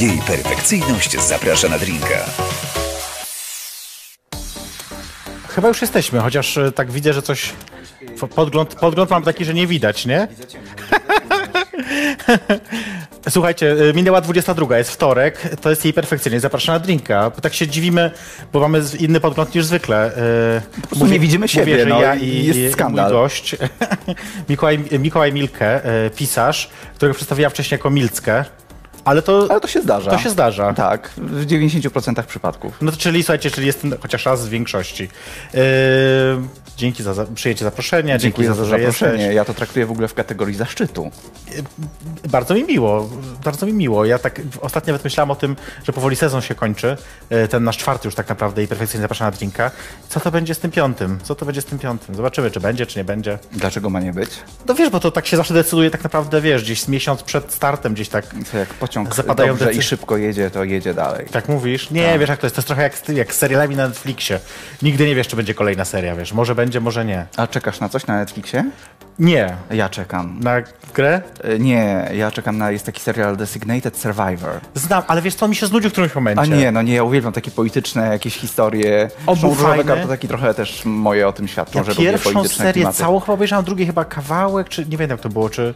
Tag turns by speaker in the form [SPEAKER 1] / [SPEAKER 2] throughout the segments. [SPEAKER 1] Jej perfekcyjność zaprasza na drinka.
[SPEAKER 2] Chyba już jesteśmy, chociaż e, tak widzę, że coś. f- Podgląd, podgląd mam taki, że nie widać, nie? Słuchajcie, e, minęła 22, jest wtorek, to jest jej perfekcyjnie. Zapraszam na drinka. Bo tak się dziwimy, bo mamy z- inny podgląd niż zwykle. E,
[SPEAKER 3] prostu nie widzimy siebie,
[SPEAKER 2] Mówię, że
[SPEAKER 3] no
[SPEAKER 2] ja
[SPEAKER 3] i
[SPEAKER 2] i,
[SPEAKER 3] jest
[SPEAKER 2] i mój
[SPEAKER 3] skandal.
[SPEAKER 2] gość, Mikołaj, Mikołaj Milke, e, pisarz, którego przedstawiła wcześniej jako Milckę, ale to,
[SPEAKER 3] Ale to się zdarza.
[SPEAKER 2] to się zdarza.
[SPEAKER 3] Tak, w 90% przypadków.
[SPEAKER 2] No to czyli słuchajcie, czyli jestem chociaż raz w większości. Yy, dzięki za, za przyjęcie zaproszenia.
[SPEAKER 3] Dziękuję
[SPEAKER 2] dzięki
[SPEAKER 3] za
[SPEAKER 2] to, że
[SPEAKER 3] zaproszenie.
[SPEAKER 2] jesteś.
[SPEAKER 3] Ja to traktuję w ogóle w kategorii zaszczytu.
[SPEAKER 2] Bardzo mi miło, bardzo mi miło. Ja tak ostatnio nawet myślałem o tym, że powoli sezon się kończy. yy, Ten nasz czwarty już tak naprawdę i perfekcyjnie zapraszana drinka. Co to będzie z tym piątym? Co to będzie z tym piątym? Zobaczymy, czy będzie, czy nie będzie.
[SPEAKER 3] Dlaczego ma nie być?
[SPEAKER 2] No wiesz, bo to tak się zawsze decyduje tak naprawdę, wiesz, gdzieś z miesiąc przed startem, gdzieś tak.
[SPEAKER 3] Co jak pociąg
[SPEAKER 2] Zapadają
[SPEAKER 3] dobrze
[SPEAKER 2] decy-
[SPEAKER 3] i szybko jedzie, to jedzie dalej.
[SPEAKER 2] Tak mówisz? Nie, wiesz jak to jest, to jest trochę jak z, jak z serialami na Netflixie. Nigdy nie wiesz, czy będzie kolejna seria, wiesz. Może będzie, może nie.
[SPEAKER 3] A czekasz na coś na Netflixie?
[SPEAKER 2] Nie,
[SPEAKER 3] Ja czekam.
[SPEAKER 2] Na grę?
[SPEAKER 3] E, Nie, ja czekam na... Jest taki serial Designated Survivor.
[SPEAKER 2] Znam, ale wiesz co, on mi się znudził w którymś momencie.
[SPEAKER 3] A nie, no nie, ja uwielbiam takie polityczne jakieś historie.
[SPEAKER 2] On był
[SPEAKER 3] Szmurzowe
[SPEAKER 2] fajny.
[SPEAKER 3] karty, taki trochę też moje o tym świadczą,
[SPEAKER 2] Ja
[SPEAKER 3] że lubię
[SPEAKER 2] pierwszą
[SPEAKER 3] polityczne
[SPEAKER 2] serię
[SPEAKER 3] klimaty.
[SPEAKER 2] całą chyba obejrzałem, drugie chyba kawałek, czy nie wiem jak to było, czy...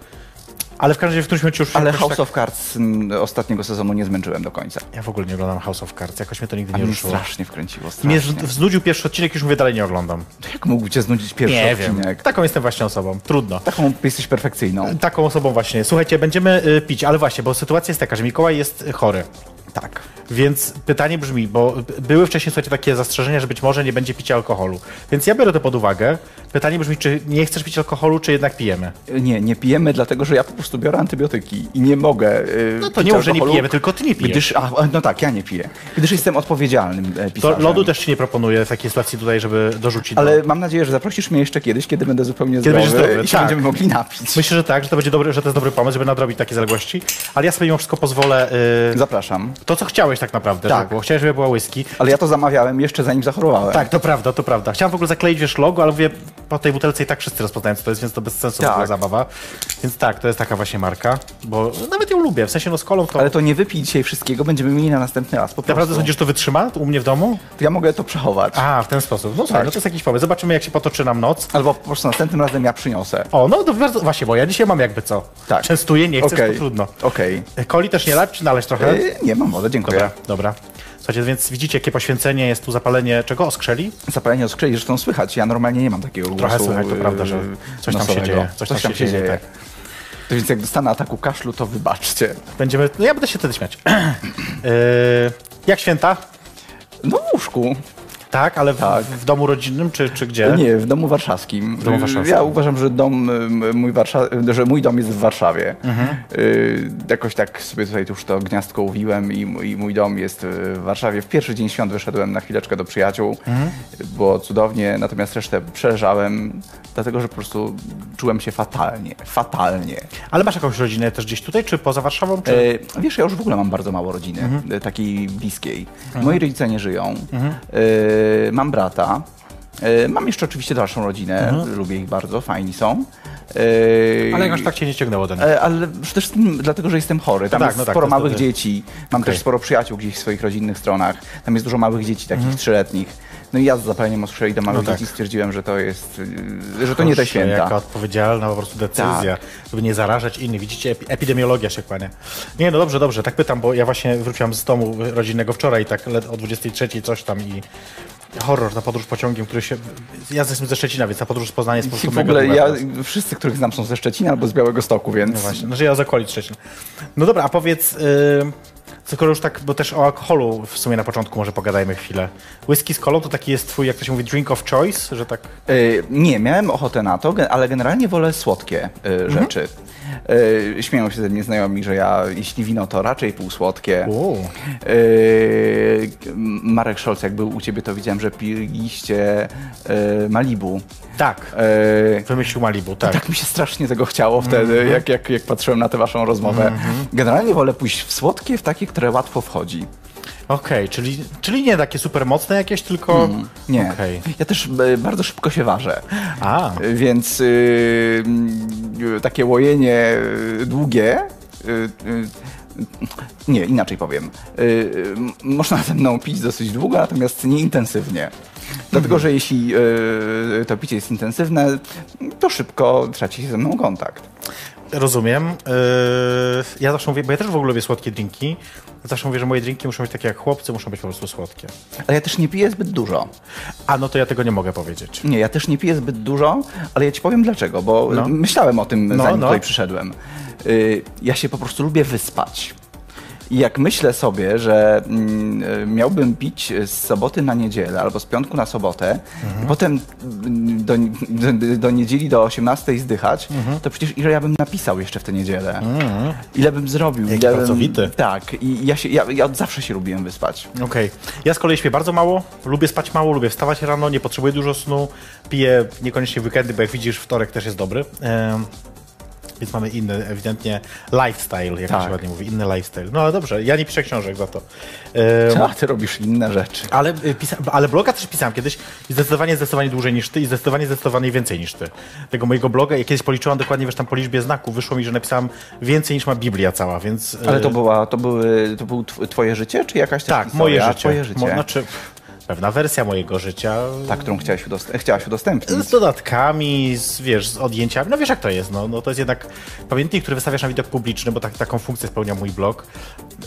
[SPEAKER 2] Ale w każdym razie w którymś momencie już...
[SPEAKER 3] Ale
[SPEAKER 2] jakoś
[SPEAKER 3] House
[SPEAKER 2] tak...
[SPEAKER 3] of Cards m, ostatniego sezonu nie zmęczyłem do końca.
[SPEAKER 2] Ja w ogóle nie oglądam House of Cards, jakoś mnie to nigdy
[SPEAKER 3] A
[SPEAKER 2] nie
[SPEAKER 3] mnie
[SPEAKER 2] ruszyło.
[SPEAKER 3] strasznie wkręciło,
[SPEAKER 2] Mnie
[SPEAKER 3] strasznie.
[SPEAKER 2] z- znudził pierwszy odcinek, już mówię, dalej nie oglądam.
[SPEAKER 3] Jak mógł cię znudzić pierwszy
[SPEAKER 2] nie
[SPEAKER 3] odcinek?
[SPEAKER 2] wiem, taką jestem właśnie osobą, trudno.
[SPEAKER 3] Taką jesteś perfekcyjną.
[SPEAKER 2] Taką osobą właśnie. Słuchajcie, będziemy y, pić, ale właśnie, bo sytuacja jest taka, że Mikołaj jest y, chory.
[SPEAKER 3] Tak.
[SPEAKER 2] Więc pytanie brzmi, bo b- były wcześniej słuchajcie, takie zastrzeżenia, że być może nie będzie picia alkoholu. Więc ja biorę to pod uwagę. Pytanie brzmi, czy nie chcesz pić alkoholu, czy jednak pijemy?
[SPEAKER 3] Nie, nie pijemy, dlatego że ja po prostu biorę antybiotyki i nie mogę. Yy,
[SPEAKER 2] No to nie mów, że nie pijemy, tylko ty nie pijesz.
[SPEAKER 3] Gdyż, a, a, no tak, ja nie piję. Gdyż jestem odpowiedzialnym e,
[SPEAKER 2] To
[SPEAKER 3] pisarzem.
[SPEAKER 2] lodu też ci nie proponuję w takiej sytuacji tutaj, żeby dorzucić.
[SPEAKER 3] Ale
[SPEAKER 2] do...
[SPEAKER 3] mam nadzieję, że zaprosisz mnie jeszcze kiedyś, kiedy będę zupełnie
[SPEAKER 2] Kiedy
[SPEAKER 3] zdrowy,
[SPEAKER 2] będziesz zdrowy,
[SPEAKER 3] i się
[SPEAKER 2] tak.
[SPEAKER 3] będziemy mogli napić.
[SPEAKER 2] Myślę, że tak, że to będzie dobry, że to jest dobry pomysł, żeby nadrobić takie zaległości. Ale ja sobie mimo wszystko pozwolę. y,
[SPEAKER 3] Zapraszam.
[SPEAKER 2] To, co chciałeś tak naprawdę,
[SPEAKER 3] Tak.
[SPEAKER 2] żeby było. Chciałeś, żeby była whisky.
[SPEAKER 3] Ale ja to zamawiałem jeszcze zanim zachorowałem.
[SPEAKER 2] Tak, to prawda, to prawda. Chciałem w ogóle zakleić wiesz logo, ale mówię, po tej butelce i tak wszyscy rozpoznają, co to jest, więc to bez sensu
[SPEAKER 3] Tak.
[SPEAKER 2] w ogóle zabawa. Więc tak, to jest taka właśnie marka, bo nawet ją lubię. W sensie no z kolą to...
[SPEAKER 3] Ale to nie wypij dzisiaj wszystkiego, będziemy mieli na następny raz. Po
[SPEAKER 2] Naprawdę
[SPEAKER 3] prostu.
[SPEAKER 2] sądzisz, że to wytrzyma u mnie w domu?
[SPEAKER 3] Ja mogę to przechować.
[SPEAKER 2] A, w ten sposób. No tak, no to jest jakiś pomysł. Zobaczymy, jak się potoczy nam noc.
[SPEAKER 3] Albo po prostu następnym razem ja przyniosę.
[SPEAKER 2] O, no to bardzo... Właśnie, bo ja dzisiaj mam jakby co.
[SPEAKER 3] Tak.
[SPEAKER 2] Częstuję, nie chcesz,
[SPEAKER 3] Okej.
[SPEAKER 2] to trudno. E,
[SPEAKER 3] Okej.
[SPEAKER 2] Coli też nie lać, czy naleźć trochę?
[SPEAKER 3] E, Nie mam wody, dziękuję.
[SPEAKER 2] Dobra, dobra. Słuchajcie, więc widzicie, jakie poświęcenie jest tu zapalenie czego? Oskrzeli?
[SPEAKER 3] Zapalenie odskrzeli, zresztą słychać. Ja normalnie nie mam takiego
[SPEAKER 2] Trochę
[SPEAKER 3] głosu.
[SPEAKER 2] słychać, to
[SPEAKER 3] y,
[SPEAKER 2] prawda, że coś tam się
[SPEAKER 3] nosowego.
[SPEAKER 2] dzieje.
[SPEAKER 3] Coś, tam, się dzieje. Tak. To więc jak dostanę ataku kaszlu, to wybaczcie.
[SPEAKER 2] Będziemy. No ja będę się wtedy śmiać. Yy, jak święta?
[SPEAKER 3] No w łóżku.
[SPEAKER 2] Tak, ale w,
[SPEAKER 3] Tak.
[SPEAKER 2] w domu rodzinnym czy, czy gdzie?
[SPEAKER 3] Nie, w domu warszawskim.
[SPEAKER 2] Tak? domu warszawskim.
[SPEAKER 3] Ja uważam, że, dom, y, mój, Warsza- że mój dom jest w Warszawie.
[SPEAKER 2] Mhm.
[SPEAKER 3] Y, jakoś tak sobie tutaj już to gniazdko uwiłem i mój, i mój dom jest y, w Warszawie. W pierwszy dzień świąt wyszedłem na chwileczkę do przyjaciół.
[SPEAKER 2] Mhm.
[SPEAKER 3] Było cudownie, natomiast resztę przeleżałem, dlatego że po prostu czułem się fatalnie. Fatalnie.
[SPEAKER 2] Ale masz jakąś rodzinę też gdzieś tutaj, czy poza Warszawą? Czy...
[SPEAKER 3] E, wiesz, ja już w ogóle mam bardzo mało rodziny,
[SPEAKER 2] Mhm.
[SPEAKER 3] e, takiej bliskiej. Moi rodzice nie żyją. E, mam brata. E, mam jeszcze oczywiście dalszą rodzinę. Lubię ich bardzo, fajni są. E,
[SPEAKER 2] Mhm. Ale jakoś tak cię nie ciągnęło do niej.
[SPEAKER 3] e, ale przede wszystkim dlatego, że jestem chory. Tam
[SPEAKER 2] Tak,
[SPEAKER 3] jest
[SPEAKER 2] no tak,
[SPEAKER 3] sporo
[SPEAKER 2] to
[SPEAKER 3] małych
[SPEAKER 2] wtedy-
[SPEAKER 3] dzieci. Mam
[SPEAKER 2] Okej.
[SPEAKER 3] też sporo przyjaciół gdzieś w swoich rodzinnych stronach. Tam jest dużo małych dzieci, takich trzyletnich. No i ja z zapaleniem oskrzeli do małych
[SPEAKER 2] Mhm. No tak.
[SPEAKER 3] dzieci stwierdziłem, że to jest, y, że to nie te
[SPEAKER 2] Kurczę,
[SPEAKER 3] święta. Tak.
[SPEAKER 2] Jaka odpowiedzialna po prostu decyzja, żeby nie zarażać innych. Widzicie, epi- epidemiologia się kłania. Nie, no dobrze, dobrze, tak pytam, bo ja właśnie wróciłam z domu rodzinnego wczoraj, tak le- o 23 coś tam i horror na podróż pociągiem, który się... Ja jestem ze Szczecina, więc ta podróż z Poznania jest po
[SPEAKER 3] I
[SPEAKER 2] prostu
[SPEAKER 3] w
[SPEAKER 2] mega
[SPEAKER 3] ogóle
[SPEAKER 2] długa
[SPEAKER 3] ja,
[SPEAKER 2] teraz.
[SPEAKER 3] wszyscy, których znam, są ze Szczecina albo z Białego Stoku, więc
[SPEAKER 2] No właśnie, znaczy ja z okolic Szczecin. No dobra, a powiedz, yy, skoro już tak, bo też o alkoholu w sumie na początku może pogadajmy chwilę. Whisky z kolą to taki jest twój, jak to się mówi, drink of choice, że tak...
[SPEAKER 3] Y, Nie, miałem ochotę na to, gen- ale generalnie wolę słodkie y, rzeczy. Y, Śmieją się ze mnie znajomi, że ja, jeśli wino, to raczej półsłodkie.
[SPEAKER 2] O.
[SPEAKER 3] Y, Marek Scholz, jak był u ciebie, to widziałem, że piliście y, Malibu.
[SPEAKER 2] Tak,
[SPEAKER 3] Y,
[SPEAKER 2] wymyślił Malibu, tak.
[SPEAKER 3] Tak mi się strasznie tego chciało wtedy, jak, jak, jak patrzyłem na tę waszą rozmowę. Generalnie wolę pójść w słodkie, w takie, które łatwo wchodzi.
[SPEAKER 2] Okej, czyli, czyli nie takie super mocne jakieś, tylko...
[SPEAKER 3] Nie.
[SPEAKER 2] Okej.
[SPEAKER 3] Ja też y, bardzo szybko się ważę.
[SPEAKER 2] A,
[SPEAKER 3] Więc y, mm, y, takie łojenie y, długie. y, y, Nie, inaczej powiem. Y, y, można ze mną pić dosyć długo, natomiast nie intensywnie. Dlatego, że jeśli y, to picie jest intensywne, to szybko traci się ze mną kontakt.
[SPEAKER 2] Rozumiem. Yy, ja zawsze mówię, bo ja też w ogóle lubię słodkie drinki. Zawsze mówię, że moje drinki muszą być takie jak chłopcy, muszą być po prostu słodkie.
[SPEAKER 3] Ale ja też nie piję zbyt dużo.
[SPEAKER 2] A no to ja tego nie mogę powiedzieć.
[SPEAKER 3] Nie, ja też nie piję zbyt dużo, ale ja ci powiem dlaczego, bo
[SPEAKER 2] No.
[SPEAKER 3] myślałem o tym,
[SPEAKER 2] No,
[SPEAKER 3] zanim
[SPEAKER 2] no.
[SPEAKER 3] tutaj przyszedłem. Y, Ja się po prostu lubię wyspać. I jak myślę sobie, że mm, y, miałbym pić z soboty na niedzielę albo z piątku na sobotę,
[SPEAKER 2] Mhm.
[SPEAKER 3] potem mm, do, do, do niedzieli do 18 zdychać,
[SPEAKER 2] Mhm.
[SPEAKER 3] to przecież ile ja bym napisał jeszcze w tę niedzielę? Ile bym zrobił?
[SPEAKER 2] Jaki
[SPEAKER 3] ile bym-
[SPEAKER 2] pracowity.
[SPEAKER 3] Tak, i ja, się, ja, ja od zawsze się lubiłem wyspać.
[SPEAKER 2] Okej. Ja z kolei śpię bardzo mało, lubię spać mało, lubię wstawać rano, nie potrzebuję dużo snu, piję niekoniecznie w weekendy, bo jak widzisz, wtorek też jest dobry. Em, więc mamy inny, ewidentnie, lifestyle, jak to
[SPEAKER 3] Tak.
[SPEAKER 2] się ładnie mówi, inny lifestyle. No ale dobrze, ja nie piszę książek za to. Yy, Em,
[SPEAKER 3] A ty robisz inne rzeczy.
[SPEAKER 2] Ale, y, pisa- ale bloga też pisałem kiedyś i zdecydowanie, zdecydowanie dłużej niż ty i zdecydowanie, zdecydowanie więcej niż ty. Tego mojego bloga, ja kiedyś policzyłam dokładnie, wiesz, tam po liczbie znaków wyszło mi, że napisałem więcej niż ma Biblia cała, więc... y,
[SPEAKER 3] Ale to, była, to, były, to było tw- twoje życie, czy jakaś też
[SPEAKER 2] Tak,
[SPEAKER 3] historia?
[SPEAKER 2] moje życie.
[SPEAKER 3] Twoje życie.
[SPEAKER 2] Mo- znaczy, pff, pewna wersja mojego życia.
[SPEAKER 3] Ta, którą chciałaś, udost- chciałaś udostępnić.
[SPEAKER 2] Z dodatkami, z, wiesz, z odjęciami. No wiesz, jak to jest. No, no to jest jednak pamiętnik, który wystawiasz na widok publiczny, bo tak, taką funkcję spełnia mój blog.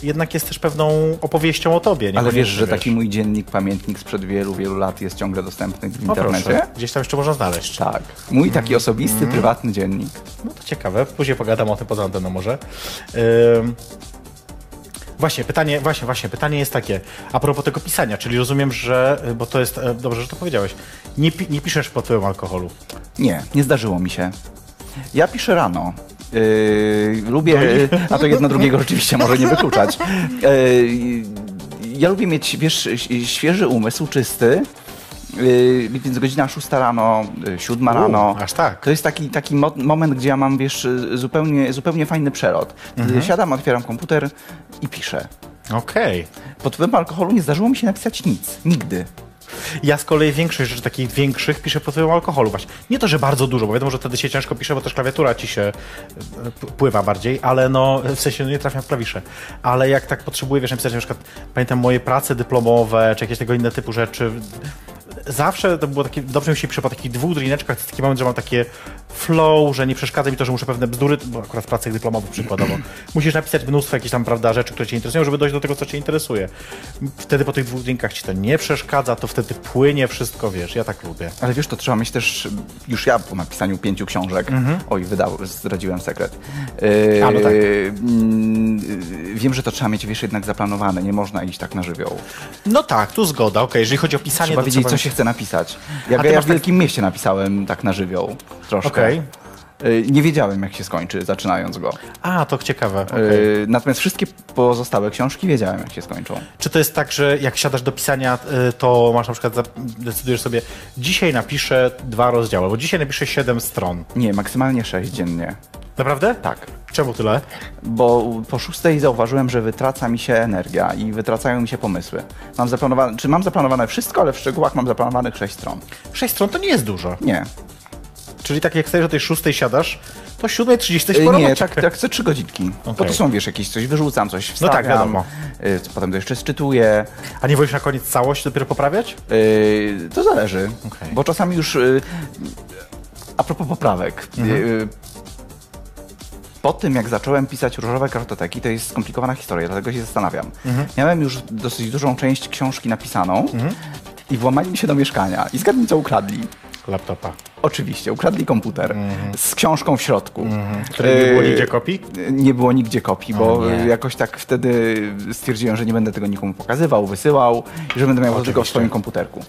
[SPEAKER 2] Jednak jest też pewną opowieścią o tobie.
[SPEAKER 3] Ale wiesz,
[SPEAKER 2] niekoniecznie,
[SPEAKER 3] że taki mój dziennik, pamiętnik sprzed wielu, wielu lat jest ciągle dostępny w
[SPEAKER 2] O, No proszę.
[SPEAKER 3] internecie?
[SPEAKER 2] Gdzieś tam jeszcze można znaleźć.
[SPEAKER 3] Tak. Mój taki
[SPEAKER 2] Mhm.
[SPEAKER 3] osobisty, prywatny dziennik.
[SPEAKER 2] No to ciekawe, później pogadam o tym poza anteną może. Ym... Właśnie, pytanie, właśnie, właśnie, pytanie jest takie, a propos tego pisania, czyli rozumiem, że, bo to jest, e, dobrze, że to powiedziałeś, nie, pi, nie piszesz pod wpływem alkoholu.
[SPEAKER 3] Nie, nie zdarzyło mi się. Ja piszę rano. Yy, lubię,
[SPEAKER 2] No
[SPEAKER 3] a to jedno drugiego rzeczywiście może nie wykluczać. Yy, ja lubię mieć, wiesz, ś- świeży umysł, czysty. Yy, więc godzina 6 rano, 7 rano.
[SPEAKER 2] aż tak.
[SPEAKER 3] To jest taki, taki mo- moment, gdzie ja mam, wiesz, zupełnie, zupełnie fajny przelot. Yy,
[SPEAKER 2] Mhm.
[SPEAKER 3] Siadam, otwieram komputer i piszę.
[SPEAKER 2] Okej.
[SPEAKER 3] Pod wpływem alkoholu nie zdarzyło mi się napisać nic. Nigdy.
[SPEAKER 2] Ja z kolei większość rzeczy takich większych piszę pod wpływem alkoholu właśnie. Nie to, że bardzo dużo, bo wiadomo, że wtedy się ciężko pisze, bo też klawiatura ci się e, p- pływa bardziej, ale no, w sensie no, nie trafiam w klawisze. Ale jak tak potrzebuję, wiesz, napisać na przykład, pamiętam moje prace dyplomowe, czy jakieś tego inne typu rzeczy, zawsze to było takie, dobrze mi się pisze po takich dwóch drineczkach, to jest taki moment, że mam takie flow, że nie przeszkadza mi to, że muszę pewne bzdury, bo akurat w pracach dyplomowych przykładowo, musisz napisać mnóstwo jakichś tam, prawda, rzeczy, które cię interesują, żeby dojść do tego, co cię interesuje. Wtedy po tych dwóch drinkach ci to nie przeszkadza, to wtedy płynie wszystko, wiesz, ja tak lubię.
[SPEAKER 3] Ale wiesz, to trzeba mieć też, już ja po napisaniu pięciu książek,
[SPEAKER 2] Mhm.
[SPEAKER 3] oj, wydał, zdradziłem sekret. Yy,
[SPEAKER 2] A, no tak.
[SPEAKER 3] mm, yy, wiem, że to trzeba mieć, wiesz, jednak zaplanowane, nie można iść tak na żywioł.
[SPEAKER 2] No tak, tu zgoda, okej, jeżeli chodzi o pisanie,
[SPEAKER 3] Trzeba
[SPEAKER 2] to
[SPEAKER 3] wiedzieć, co
[SPEAKER 2] trzeba-
[SPEAKER 3] się chce napisać. Ja,
[SPEAKER 2] A ty
[SPEAKER 3] ja
[SPEAKER 2] masz
[SPEAKER 3] w
[SPEAKER 2] tak-
[SPEAKER 3] Wielkim Mieście napisałem tak na żywioł, troszkę.
[SPEAKER 2] Okej.
[SPEAKER 3] Yy, nie wiedziałem, jak się skończy, zaczynając go.
[SPEAKER 2] A, to ciekawe. okej.
[SPEAKER 3] Yy, natomiast wszystkie pozostałe książki wiedziałem, jak się skończą.
[SPEAKER 2] Czy to jest tak, że jak siadasz do pisania, y, to masz na przykład, za- decydujesz sobie, dzisiaj napiszę dwa rozdziały, bo dzisiaj napiszę siedem stron.
[SPEAKER 3] Nie, maksymalnie sześć dziennie.
[SPEAKER 2] Naprawdę?
[SPEAKER 3] Tak.
[SPEAKER 2] Czemu tyle?
[SPEAKER 3] bo po szóstej zauważyłem, że wytraca mi się energia i wytracają mi się pomysły. Mam zaplanowane, czy mam zaplanowane wszystko, ale w szczegółach mam zaplanowanych sześć stron.
[SPEAKER 2] Sześć stron to nie jest dużo.
[SPEAKER 3] Nie.
[SPEAKER 2] Czyli tak jak stajesz o tej szóstej siadasz, to 7.30
[SPEAKER 3] Y,
[SPEAKER 2] jesteś po robocie.
[SPEAKER 3] Nie, tak, tak co trzy godzinki. Bo
[SPEAKER 2] Okej.
[SPEAKER 3] to są, wiesz, jakieś coś wyrzucam, coś
[SPEAKER 2] No
[SPEAKER 3] wstawiam.
[SPEAKER 2] tak, wiadomo.
[SPEAKER 3] y, co Potem to jeszcze sczytuję.
[SPEAKER 2] A nie wolisz na koniec całość dopiero poprawiać?
[SPEAKER 3] Y, To zależy.
[SPEAKER 2] Okej.
[SPEAKER 3] Bo czasami już... y, A propos poprawek.
[SPEAKER 2] Mhm.
[SPEAKER 3] y, Po tym, jak zacząłem pisać różowe kartoteki, to jest skomplikowana historia, dlatego się zastanawiam.
[SPEAKER 2] Mhm.
[SPEAKER 3] Miałem już dosyć dużą część książki napisaną i włamali mi się do mieszkania. I zgadnij, co ukradli.
[SPEAKER 2] Laptopa.
[SPEAKER 3] Oczywiście, ukradli komputer z książką w środku.
[SPEAKER 2] Mhm. Której nie było
[SPEAKER 3] Y,
[SPEAKER 2] nigdzie kopii?
[SPEAKER 3] Nie było nigdzie kopii, bo
[SPEAKER 2] nie.
[SPEAKER 3] jakoś tak wtedy stwierdziłem, że nie będę tego nikomu pokazywał, wysyłał, i że będę miał to tylko w
[SPEAKER 2] Oczywiście.
[SPEAKER 3] swoim komputerku.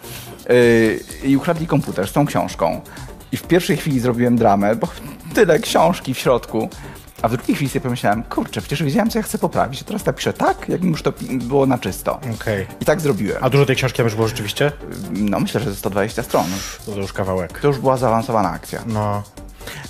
[SPEAKER 3] Y, I ukradli komputer z tą książką. I w pierwszej chwili zrobiłem dramę, bo tyle książki w środku. A w drugiej chwili sobie pomyślałem, kurczę, przecież wiedziałem, co ja chcę poprawić. A teraz napiszę tak, jakbym już to pi- było na czysto.
[SPEAKER 2] Okej.
[SPEAKER 3] I tak zrobiłem.
[SPEAKER 2] A dużo tej książki tam już było rzeczywiście?
[SPEAKER 3] No myślę, że ze 120 stron.
[SPEAKER 2] No to już kawałek.
[SPEAKER 3] To już była zaawansowana akcja.
[SPEAKER 2] No.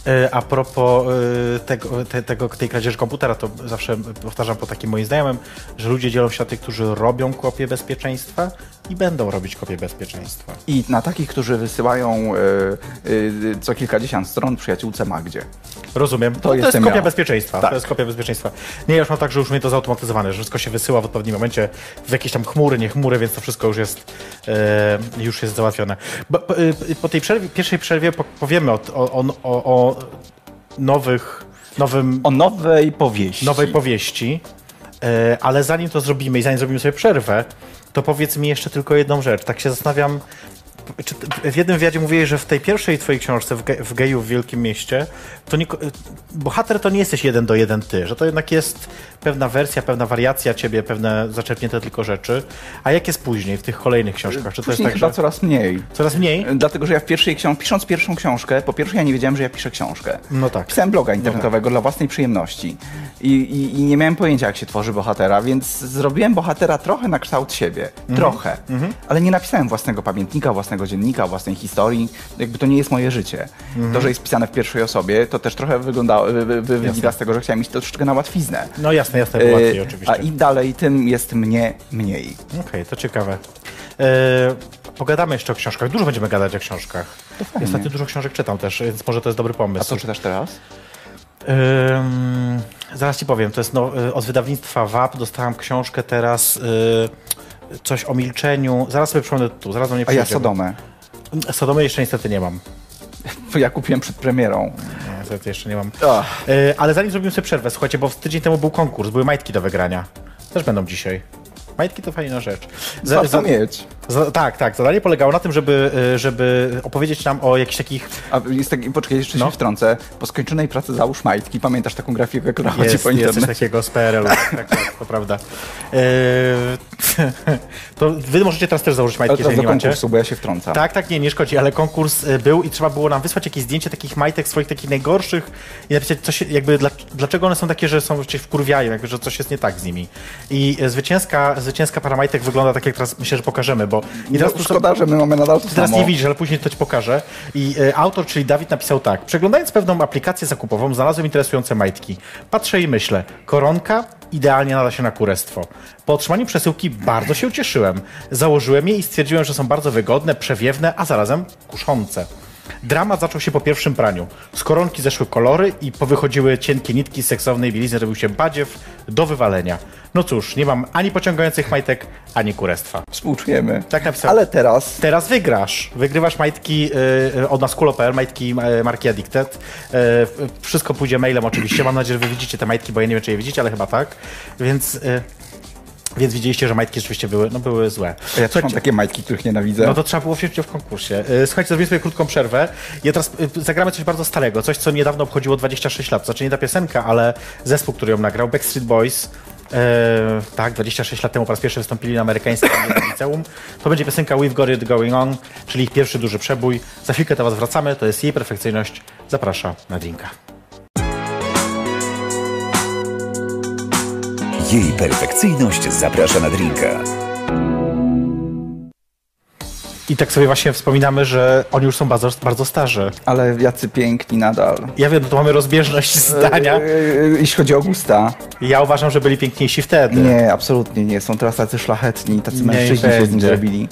[SPEAKER 2] E, A propos e, tego, te, tego, tej kradzieży komputera, to zawsze powtarzam po takim moim znajomym, że ludzie dzielą się na tych, którzy robią kopię bezpieczeństwa i będą robić kopię bezpieczeństwa.
[SPEAKER 3] I na takich, którzy wysyłają y, y, co kilkadziesiąt stron przyjaciółce Magdzie.
[SPEAKER 2] Rozumiem. To, to, jest,
[SPEAKER 3] jestem
[SPEAKER 2] kopia
[SPEAKER 3] ja.
[SPEAKER 2] bezpieczeństwa.
[SPEAKER 3] Tak.
[SPEAKER 2] To jest kopia bezpieczeństwa. Nie, ja już mam tak, że już mnie to zautomatyzowane, że wszystko się wysyła w odpowiednim momencie w jakieś tam chmury, nie chmury, więc to wszystko już jest, e, już jest załatwione. Bo, po, y, po tej przerwie, pierwszej przerwie po, powiemy o, o, o, o nowych, nowym,
[SPEAKER 3] O nowej powieści.
[SPEAKER 2] nowej powieści, e, ale zanim to zrobimy i zanim zrobimy sobie przerwę, to powiedz mi jeszcze tylko jedną rzecz. Tak się zastanawiam, czy ty- w jednym wywiadzie mówiłeś, że w tej pierwszej twojej książce w, ge, w geju w Wielkim Mieście, to nie, e, bohater to nie jesteś jeden do jeden ty, że to jednak jest pewna wersja, pewna wariacja ciebie, pewne zaczerpnięte tylko rzeczy. A jak jest później w tych kolejnych książkach? Czy to jest
[SPEAKER 3] Później
[SPEAKER 2] tak,
[SPEAKER 3] chyba E,
[SPEAKER 2] że
[SPEAKER 3] coraz mniej.
[SPEAKER 2] coraz mniej?
[SPEAKER 3] Dlatego, że ja w pierwszej książce, pisząc pierwszą książkę, po pierwsze ja nie wiedziałem, że ja piszę książkę.
[SPEAKER 2] No tak.
[SPEAKER 3] Pisałem bloga internetowego dla własnej przyjemności. I, i, I nie miałem pojęcia, jak się tworzy bohatera, więc zrobiłem bohatera trochę na kształt siebie.
[SPEAKER 2] Mhm.
[SPEAKER 3] Trochę. Ale nie napisałem własnego pamiętnika, własnego dziennika, własnej historii. Jakby to nie jest moje życie. To,
[SPEAKER 2] Mhm.
[SPEAKER 3] że jest pisane w pierwszej osobie, to też trochę wyglądało, wy, wy, wy, wynika z tego, że chciałem iść troszeczkę na łatwiznę.
[SPEAKER 2] No jasne, jasne, było łatwiej
[SPEAKER 3] Yy,
[SPEAKER 2] oczywiście.
[SPEAKER 3] A i dalej, tym jest mnie mniej.
[SPEAKER 2] Okej, to ciekawe. E, pogadamy jeszcze o książkach. Dużo będziemy gadać o książkach. Ja Ostatnio dużo książek czytam też, więc może to jest dobry pomysł.
[SPEAKER 3] A co czytasz teraz?
[SPEAKER 2] Ym, zaraz ci powiem, to jest no, y, od wydawnictwa WAP. Dostałam książkę teraz. y, Coś o milczeniu. Zaraz sobie przypomnę tu, zaraz do mnie
[SPEAKER 3] A ja
[SPEAKER 2] przyjdzie. Mm,
[SPEAKER 3] Sodomę.
[SPEAKER 2] Sodomy jeszcze niestety nie mam.
[SPEAKER 3] Ja kupiłem przed premierą.
[SPEAKER 2] Nie, Niestety jeszcze nie mam.
[SPEAKER 3] Ach.
[SPEAKER 2] Y, Ale zanim zrobimy sobie przerwę, słuchajcie, bo w tydzień temu był konkurs, były majtki do wygrania. Też będą dzisiaj. Majtki to fajna rzecz. Za-
[SPEAKER 3] Warto
[SPEAKER 2] za-
[SPEAKER 3] mieć.
[SPEAKER 2] za- tak, tak. Zadanie polegało na tym, żeby, y, żeby opowiedzieć nam o jakichś takich
[SPEAKER 3] A jest taki, poczekaj, jeszcze
[SPEAKER 2] No.
[SPEAKER 3] się wtrącę. Po skończonej pracy załóż majtki. Pamiętasz taką grafikę, która chodzi
[SPEAKER 2] Jest,
[SPEAKER 3] po
[SPEAKER 2] jest coś
[SPEAKER 3] internecie?
[SPEAKER 2] takiego z PRL-u. Tak, tak, to prawda. Eee, to wy możecie teraz też założyć
[SPEAKER 3] Ale
[SPEAKER 2] majtki,
[SPEAKER 3] teraz
[SPEAKER 2] jeżeli
[SPEAKER 3] do
[SPEAKER 2] nie macie.
[SPEAKER 3] konkursu, bo ja się wtrącam.
[SPEAKER 2] Tak, tak, nie, nie szkodzi, ale konkurs e, był i trzeba było nam wysłać jakieś zdjęcie takich majtek swoich takich najgorszych i napisać, co się, jakby dla, dlaczego one są takie, że są cię wkurwiają, jakby, że coś jest nie tak z nimi. I e, zwycięska, zwycięska para majtek wygląda tak, jak teraz myślę, że pokażemy, bo... I teraz
[SPEAKER 3] No, szkoda, że my mamy nadal to
[SPEAKER 2] ty teraz
[SPEAKER 3] samo.
[SPEAKER 2] nie widzisz, ale później to ci pokażę. I e, autor, czyli Dawid, napisał tak. Przeglądając pewną aplikację zakupową, znalazłem interesujące majtki. Patrzę i myślę, koronka idealnie nada się na kurestwo. Po otrzymaniu przesyłki bardzo się ucieszyłem. Założyłem je i stwierdziłem, że są bardzo wygodne, przewiewne, a zarazem kuszące. Dramat zaczął się po pierwszym praniu. Z koronki zeszły kolory i powychodziły cienkie nitki z seksownej bielizny, robił się badziew do wywalenia. No cóż, nie mam ani pociągających majtek, ani kurestwa.
[SPEAKER 3] Współczujemy.
[SPEAKER 2] Tak napisał.
[SPEAKER 3] Ale teraz
[SPEAKER 2] Teraz wygrasz. Wygrywasz majtki y, y, od naskulo.pl, majtki y, marki Addicted. Y, y, wszystko pójdzie mailem oczywiście. Mam nadzieję, że wy widzicie te majtki, bo ja nie wiem, czy je widzicie, ale chyba tak. Więc, y, więc widzieliście, że majtki rzeczywiście były, no, były złe.
[SPEAKER 3] ja też mam
[SPEAKER 2] Słuchajcie,
[SPEAKER 3] takie majtki, których nienawidzę.
[SPEAKER 2] no to trzeba było wziąć udział w konkursie. Y, Słuchajcie, zrobimy sobie krótką przerwę. Ja teraz y, zagramy coś bardzo starego, coś, co niedawno obchodziło 26 lat. Znaczy nie ta piosenka, ale zespół, który ją nagrał, Backstreet Boys. E, tak, 26 lat temu po raz pierwszy wystąpili na amerykańskim liceum. To będzie piosenka We've Got It Going On, czyli ich pierwszy duży przebój. Za chwilkę do Was wracamy, to jest jej perfekcyjność. Zaprasza na drinka.
[SPEAKER 1] Jej perfekcyjność zaprasza na drinka.
[SPEAKER 2] I tak sobie właśnie wspominamy, że oni już są bardzo, bardzo starzy.
[SPEAKER 3] Ale jacy piękni nadal.
[SPEAKER 2] Ja wiem, no to mamy rozbieżność zdania.
[SPEAKER 3] Yy, Jeśli chodzi o gusta,
[SPEAKER 2] Ja uważam, że byli piękniejsi wtedy.
[SPEAKER 3] nie, absolutnie nie. Są teraz tacy szlachetni, tacy mężczyźni się z nim
[SPEAKER 2] będzie.
[SPEAKER 3] zrobili.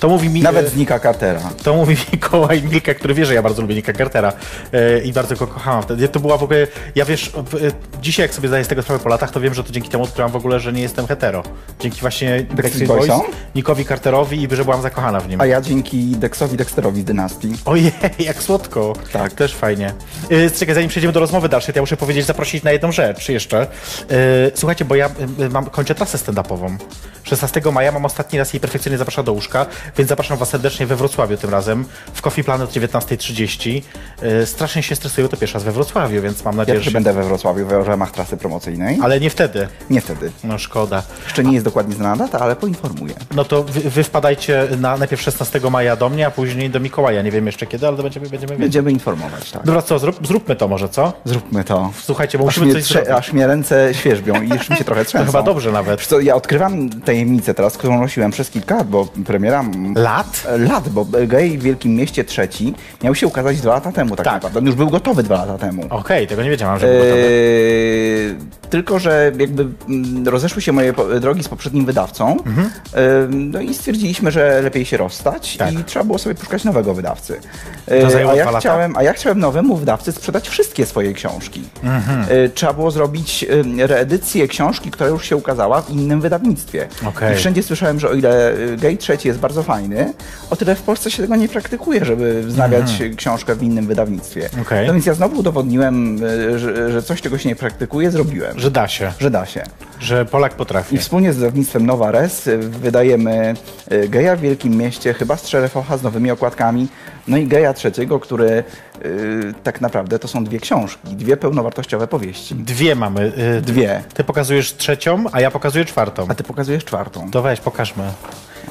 [SPEAKER 2] To mówi mi...
[SPEAKER 3] Nawet znika kartera.
[SPEAKER 2] To mówi Mikołaj Milka, który wie, że ja bardzo lubię Nika Cartera e, i bardzo go kochałam wtedy. To była w ogóle, ja wiesz, w- e, dzisiaj jak sobie zdaję z tego sprawę po latach, to wiem, że to dzięki temu odkryłam w ogóle, że nie jestem hetero. Dzięki właśnie Backstreet Boys,
[SPEAKER 3] Boysom?
[SPEAKER 2] Nikowi Carterowi i że byłam zakochana w nim.
[SPEAKER 3] A ja dzięki Dexowi Dexterowi z dynastii.
[SPEAKER 2] Ojej, jak słodko. Tak. Też fajnie. Yy, czekaj, zanim przejdziemy do rozmowy dalszej, to ja muszę powiedzieć, zaprosić na jedną rzecz jeszcze. Yy, słuchajcie, bo ja yy, mam, kończę trasę stand-upową. 16 maja mam ostatni raz jej perfekcyjnie zaprasza do łóżka, więc zapraszam was serdecznie we Wrocławiu tym razem, w Coffee Planet 19.30. Yy, strasznie się stresuję, to pierwszy raz we Wrocławiu, więc mam
[SPEAKER 3] Ja
[SPEAKER 2] nadzieję,
[SPEAKER 3] też
[SPEAKER 2] że...
[SPEAKER 3] będę we Wrocławiu, w ramach trasy promocyjnej.
[SPEAKER 2] Ale nie wtedy.
[SPEAKER 3] Nie wtedy.
[SPEAKER 2] No szkoda.
[SPEAKER 3] Jeszcze nie jest dokładnie znana data, ale poinformuję.
[SPEAKER 2] No to wy, wy wpadajcie na, najpierw 16 maja do mnie, a później do Mikołaja. Nie wiem jeszcze kiedy, ale to będziemy, będziemy wiedzieć.
[SPEAKER 3] Będziemy informować, tak.
[SPEAKER 2] Dobra, co, zrób, zróbmy to może, co?
[SPEAKER 3] Zróbmy to.
[SPEAKER 2] Słuchajcie, bo
[SPEAKER 3] Aż
[SPEAKER 2] musimy
[SPEAKER 3] mnie,
[SPEAKER 2] coś
[SPEAKER 3] trze-
[SPEAKER 2] zrobić.
[SPEAKER 3] aż mnie ręce świerzbią i już mi się trochę trzęsą.
[SPEAKER 2] chyba dobrze nawet.
[SPEAKER 3] Wiesz Co, ja odkrywam te tajemnicę teraz, którą nosiłem przez kilka lat, bo premiera... m,
[SPEAKER 2] Lat?
[SPEAKER 3] e, Lat, bo Gej w Wielkim Mieście trzeci miał się ukazać dwa lata temu tak,
[SPEAKER 2] Tak.
[SPEAKER 3] naprawdę. On już był gotowy dwa lata temu.
[SPEAKER 2] Okej, tego nie wiedziałam, że był
[SPEAKER 3] Yy,
[SPEAKER 2] gotowy.
[SPEAKER 3] Eee, tylko, że jakby mm, rozeszły się moje po- drogi z poprzednim wydawcą.
[SPEAKER 2] Mhm.
[SPEAKER 3] Ehm, no i stwierdziliśmy, że lepiej się rozstać
[SPEAKER 2] Tak.
[SPEAKER 3] i trzeba było sobie poszukać nowego wydawcy. Eee,
[SPEAKER 2] To zajęło
[SPEAKER 3] a, ja
[SPEAKER 2] dwa lata.
[SPEAKER 3] chciałem, a ja chciałem nowemu wydawcy sprzedać wszystkie swoje książki.
[SPEAKER 2] Mhm.
[SPEAKER 3] Eee, trzeba było zrobić em, reedycję książki, która już się ukazała w innym wydawnictwie.
[SPEAKER 2] Okej.
[SPEAKER 3] I wszędzie słyszałem, że o ile e, Gate trzeci jest bardzo fajny, o tyle w Polsce się tego nie praktykuje, żeby wznawiać e, książkę w innym wydawnictwie.
[SPEAKER 2] Mhm. Okej.
[SPEAKER 3] No więc ja znowu udowodniłem, y, że, że coś, czego się nie praktykuje, zrobiłem. Że,
[SPEAKER 2] Że da się,
[SPEAKER 3] że da się.
[SPEAKER 2] że Polak
[SPEAKER 3] I
[SPEAKER 2] potrafi.
[SPEAKER 3] wspólnie z wydawnictwem Nowa Res y, wydajemy y, Geja w Wielkim Mieście, chyba z Szerefocha, z nowymi okładkami, no i Geja trzeciego, który y, tak naprawdę to są dwie książki, dwie pełnowartościowe powieści.
[SPEAKER 2] Dwie mamy. y,
[SPEAKER 3] Dwie.
[SPEAKER 2] Ty pokazujesz trzecią, a ja pokazuję czwartą.
[SPEAKER 3] A ty pokazujesz czwartą.
[SPEAKER 2] To weź, pokażmy.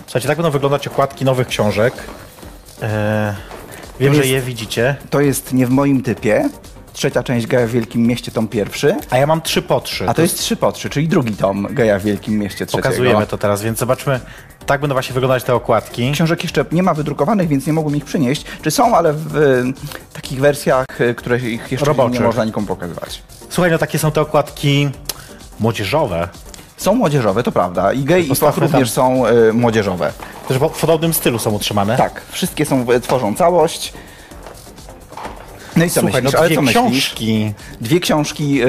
[SPEAKER 2] Słuchajcie, tak będą wyglądać okładki nowych książek. E, wiem,
[SPEAKER 3] To
[SPEAKER 2] że
[SPEAKER 3] jest-
[SPEAKER 2] je widzicie.
[SPEAKER 3] To jest nie w moim typie, trzecia część Geja w Wielkim Mieście, tom pierwszy,
[SPEAKER 2] A ja mam trzy po trzy.
[SPEAKER 3] a to jest trzy po trzy, czyli drugi tom Geja w Wielkim Mieście trzeciego.
[SPEAKER 2] Pokazujemy to teraz, więc zobaczmy. Tak będą właśnie wyglądać te okładki.
[SPEAKER 3] Książek jeszcze nie ma wydrukowanych, więc nie mogłem ich przynieść. Czy są, ale w e, takich wersjach, e, które ich jeszcze
[SPEAKER 2] Roboczych.
[SPEAKER 3] nie można nikomu pokazywać.
[SPEAKER 2] Słuchaj, no takie są te okładki młodzieżowe.
[SPEAKER 3] Są młodzieżowe, to prawda. I gej i Stoch
[SPEAKER 2] Postawmy tam-
[SPEAKER 3] również są e, młodzieżowe.
[SPEAKER 2] Też po- w podobnym stylu są utrzymane.
[SPEAKER 3] Tak, wszystkie są, e, tworzą całość. No i co
[SPEAKER 2] Słuchaj,
[SPEAKER 3] myślisz?
[SPEAKER 2] no
[SPEAKER 3] ale
[SPEAKER 2] dwie
[SPEAKER 3] co myślisz?
[SPEAKER 2] książki.
[SPEAKER 3] Dwie książki e,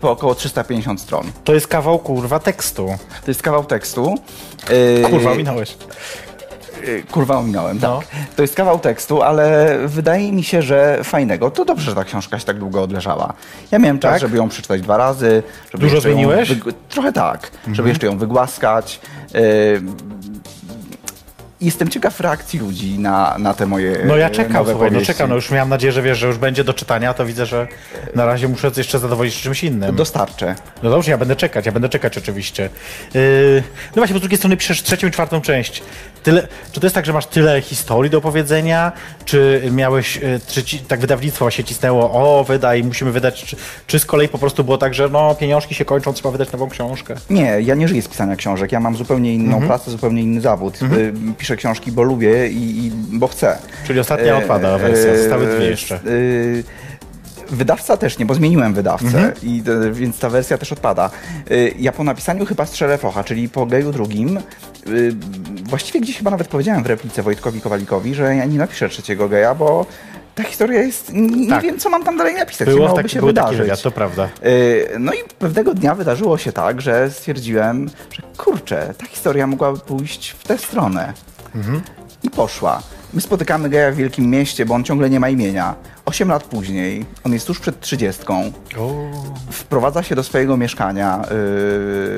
[SPEAKER 3] po około 350 stron.
[SPEAKER 2] To jest kawał kurwa tekstu.
[SPEAKER 3] To jest kawał tekstu. E,
[SPEAKER 2] Kurwa, minąłeś.
[SPEAKER 3] e, Kurwa, ominąłem, tak.
[SPEAKER 2] No.
[SPEAKER 3] To jest kawał tekstu, ale wydaje mi się, że fajnego. To dobrze, że ta książka się tak długo odleżała. Ja miałem czas,
[SPEAKER 2] Tak?
[SPEAKER 3] żeby ją przeczytać dwa razy. Żeby
[SPEAKER 2] Dużo
[SPEAKER 3] jeszcze ją
[SPEAKER 2] zmieniłeś? Mhm.
[SPEAKER 3] wyg- Trochę tak, żeby jeszcze ją wygłaskać. E, Jestem ciekaw reakcji ludzi na, na te moje
[SPEAKER 2] No ja
[SPEAKER 3] e,
[SPEAKER 2] czekam,
[SPEAKER 3] nowe
[SPEAKER 2] słuchaj, no
[SPEAKER 3] powieści.
[SPEAKER 2] czekam. No już miałam nadzieję, że wiesz, że już będzie do czytania, to widzę, że na razie muszę jeszcze zadowolić czymś innym.
[SPEAKER 3] Dostarczę.
[SPEAKER 2] No dobrze, ja będę czekać, ja będę czekać oczywiście. Yy, no właśnie, bo z drugiej strony piszesz trzecią i czwartą część. Tyle, czy to jest tak, że masz tyle historii do opowiedzenia? Czy miałeś, yy, czy ci, tak wydawnictwo właśnie cisnęło, o wydaj, musimy wydać, czy, czy z kolei po prostu było tak, że no pieniążki się kończą, trzeba wydać nową książkę?
[SPEAKER 3] Nie, ja nie żyję z pisania książek. Ja mam zupełnie inną
[SPEAKER 2] Mhm.
[SPEAKER 3] pracę, zupełnie inny zawód. Y, Piszę książki, bo lubię i, i bo chcę.
[SPEAKER 2] Czyli ostatnia odpada wersja, zostały dwie jeszcze.
[SPEAKER 3] y, Wydawca też nie, bo zmieniłem wydawcę,
[SPEAKER 2] Mhm.
[SPEAKER 3] i, y, więc ta wersja też odpada. Y, Ja po napisaniu chyba strzelę focha, czyli po geju drugim, y, właściwie gdzieś chyba nawet powiedziałem w replice Wojtkowi Kowalikowi, że ja nie napiszę trzeciego geja, bo ta historia jest. Nie
[SPEAKER 2] Tak.
[SPEAKER 3] wiem, co mam tam dalej napisać. co
[SPEAKER 2] Było
[SPEAKER 3] miałoby
[SPEAKER 2] taki,
[SPEAKER 3] się
[SPEAKER 2] był taki
[SPEAKER 3] wydarzyć.
[SPEAKER 2] wywiad, to prawda.
[SPEAKER 3] Yy, No i pewnego dnia wydarzyło się tak, że stwierdziłem, że kurczę, ta historia mogłaby pójść w tę stronę. I poszła. My spotykamy geja w wielkim mieście, bo on ciągle nie ma imienia. Osiem lat później, on jest tuż przed trzydziestką, wprowadza się do swojego mieszkania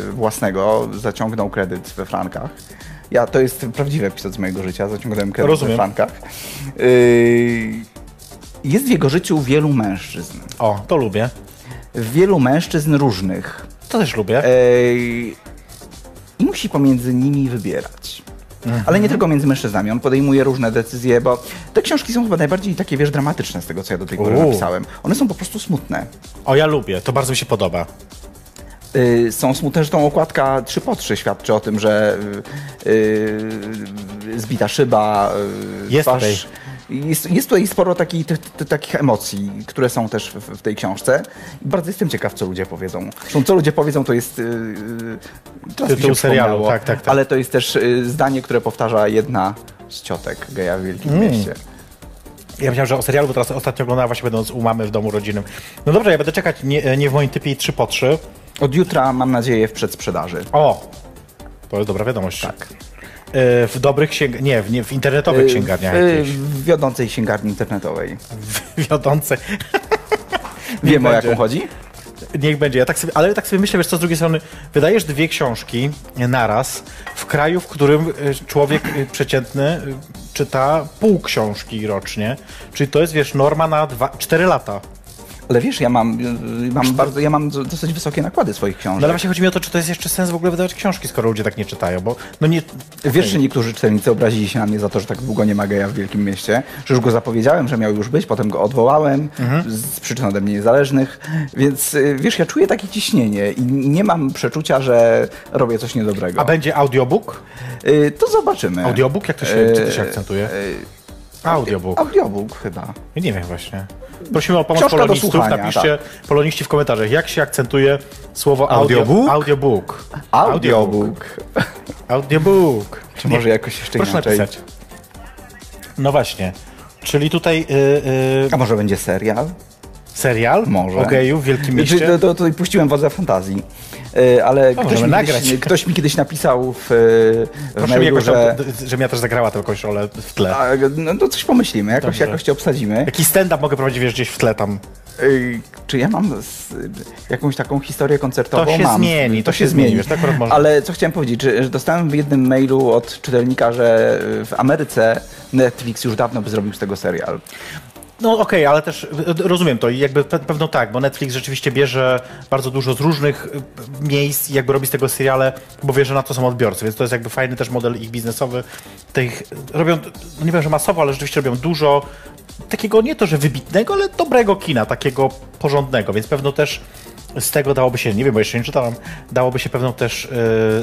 [SPEAKER 3] yy, własnego, zaciągnął kredyt we frankach. Ja, to jest prawdziwy epizod z mojego życia, zaciągnąłem kredyt we
[SPEAKER 2] Rozumiem.
[SPEAKER 3] frankach. Yy, jest w jego życiu wielu mężczyzn
[SPEAKER 2] O, to lubię.
[SPEAKER 3] wielu mężczyzn różnych.
[SPEAKER 2] To też
[SPEAKER 3] E,
[SPEAKER 2] lubię.
[SPEAKER 3] Ej, I musi pomiędzy nimi wybierać. Ale nie tylko między mężczyznami. On podejmuje różne decyzje, bo te książki są chyba najbardziej takie, wiesz, dramatyczne z tego, co ja do tej pory
[SPEAKER 2] Uuu.
[SPEAKER 3] napisałem. One są po prostu smutne.
[SPEAKER 2] O, ja lubię, to bardzo mi się podoba.
[SPEAKER 3] Yy, są smutne, że tą okładka 3 po 3 świadczy o tym, że yy, yy, zbita szyba, yy,
[SPEAKER 2] Jest tutaj.
[SPEAKER 3] Jest, jest tutaj sporo taki, ty, ty, takich emocji, które są też w, w tej książce. Bardzo jestem ciekaw, co ludzie powiedzą. Zresztą, co ludzie powiedzą, to jest. Yy, teraz mi
[SPEAKER 2] Tytuł serialu,
[SPEAKER 3] się przypomniało,
[SPEAKER 2] tak, tak, tak.
[SPEAKER 3] Ale to jest też yy, zdanie, które powtarza jedna z ciotek geja w Wielkim
[SPEAKER 2] Mm.
[SPEAKER 3] Mieście.
[SPEAKER 2] Ja myślałem, że o serialu, bo teraz ostatnio oglądałam właśnie będąc u mamy w domu rodzinnym. No dobrze, ja będę czekać nie, nie w moim typie i trzy po trzy.
[SPEAKER 3] Od jutra, mam nadzieję, w przedsprzedaży.
[SPEAKER 2] O! To jest dobra wiadomość. Tak. W dobrych księg... Nie, w, nie, w internetowych księgarniach
[SPEAKER 3] Yy,
[SPEAKER 2] jakichś.
[SPEAKER 3] w wiodącej księgarni internetowej.
[SPEAKER 2] Wiodące.
[SPEAKER 3] Wiem, o
[SPEAKER 2] będzie.
[SPEAKER 3] jaką chodzi?
[SPEAKER 2] Niech będzie. Ja tak sobie, ale tak sobie myślę, wiesz co, z drugiej strony wydajesz dwie książki naraz w kraju, w którym y, człowiek y, przeciętny y, czyta pół książki rocznie. Czyli to jest, wiesz, norma na dwa, cztery lata.
[SPEAKER 3] Ale wiesz, ja mam, y, mam bardzo, ja mam dosyć wysokie nakłady swoich książek.
[SPEAKER 2] No ale właśnie chodzi mi o to, czy to jest jeszcze sens w ogóle wydawać książki, skoro ludzie tak nie czytają, bo no nie...
[SPEAKER 3] Wiesz, czy niektórzy czytelnicy obrazili się na mnie za to, że tak długo nie ma geja w Wielkim Mieście, że już go zapowiedziałem, że miał już być, potem go odwołałem
[SPEAKER 2] Mhm.
[SPEAKER 3] z przyczyn ode mnie niezależnych, więc y, wiesz, ja czuję takie ciśnienie i nie mam przeczucia, że robię coś niedobrego.
[SPEAKER 2] A będzie audiobook?
[SPEAKER 3] Y, to zobaczymy.
[SPEAKER 2] Audiobook? Jak to się, czy to się akcentuje? Audiobook.
[SPEAKER 3] E, Audiobook chyba.
[SPEAKER 2] Ja nie wiem właśnie. Prosimy o pomoc
[SPEAKER 3] Książka do
[SPEAKER 2] polonistów.
[SPEAKER 3] słuchania, tak.
[SPEAKER 2] Napiszcie poloniści w komentarzach, jak się akcentuje słowo
[SPEAKER 4] Audiobook?
[SPEAKER 2] Audio, audiobook.
[SPEAKER 3] Audiobook.
[SPEAKER 2] Audiobook.
[SPEAKER 3] Czy może jakoś jeszcze
[SPEAKER 2] Proszę
[SPEAKER 3] inaczej?
[SPEAKER 2] napisać. No właśnie. Czyli tutaj y, y,
[SPEAKER 3] A może będzie serial?
[SPEAKER 2] serial
[SPEAKER 3] Może.
[SPEAKER 2] o geju w Wielkim
[SPEAKER 3] Znaczy,
[SPEAKER 2] Mieście. No,
[SPEAKER 3] to, to, to puściłem wodze fantazji. E, Ale ktoś
[SPEAKER 2] możemy
[SPEAKER 3] mi,
[SPEAKER 2] nagrać.
[SPEAKER 3] kiedyś, ktoś mi kiedyś napisał w, e, w
[SPEAKER 2] Proszę mi
[SPEAKER 3] mailu,
[SPEAKER 2] jakoś,
[SPEAKER 3] że...
[SPEAKER 2] że... żebym ja też zagrała tę jakąś rolę w tle.
[SPEAKER 3] A, no to coś pomyślimy, jakoś,
[SPEAKER 2] Dobrze.
[SPEAKER 3] jakoś cię obsadzimy.
[SPEAKER 2] Jaki stand-up mogę prowadzić, wiesz, gdzieś w tle tam.
[SPEAKER 3] Ej, Czy ja mam z, jakąś taką historię koncertową?
[SPEAKER 2] To się
[SPEAKER 3] mam.
[SPEAKER 2] zmieni, to się zmieni, wiesz, to akurat można.
[SPEAKER 3] Ale co chciałem powiedzieć, że, że dostałem w jednym mailu od czytelnika, że y, w Ameryce Netflix już dawno by zrobił z tego serial.
[SPEAKER 2] No okej, ale też y, rozumiem to i jakby pe- pewno tak, bo Netflix rzeczywiście bierze bardzo dużo z różnych y, miejsc i jakby robi z tego seriale, bo wie, że na to są odbiorcy, więc to jest jakby fajny też model ich biznesowy. Tych robią, no nie wiem, że masowo, ale rzeczywiście robią dużo takiego nie to, że wybitnego, ale dobrego kina, takiego porządnego, więc pewno też z tego dałoby się, nie wiem, bo jeszcze nie czytałem, dałoby się pewno też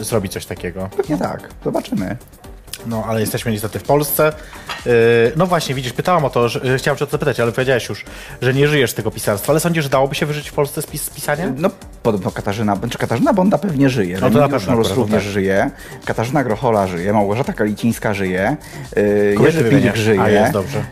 [SPEAKER 2] y, zrobić coś takiego.
[SPEAKER 3] Pewnie tak, zobaczymy.
[SPEAKER 2] No, ale jesteśmy niestety w Polsce. Yy, no właśnie, widzisz, pytałam o to, że, yy, chciałam cię o to zapytać, ale powiedziałeś już, że nie żyjesz z tego pisarstwa, ale sądzisz, że dałoby się wyżyć w Polsce z, pis- z pisania?
[SPEAKER 3] No podobno Katarzyna, czy Katarzyna Bonda pewnie żyje.
[SPEAKER 2] No to na
[SPEAKER 3] Remigiusz
[SPEAKER 2] pewno
[SPEAKER 3] Mróz
[SPEAKER 2] akurat,
[SPEAKER 3] również
[SPEAKER 2] tak.
[SPEAKER 3] żyje. Katarzyna Grochola żyje, Małgorzata Kalicińska żyje, yy,
[SPEAKER 2] Kobiety
[SPEAKER 3] Jerzy Pilik
[SPEAKER 2] wymieniasz.
[SPEAKER 3] żyje,
[SPEAKER 2] A, jest, dobrze.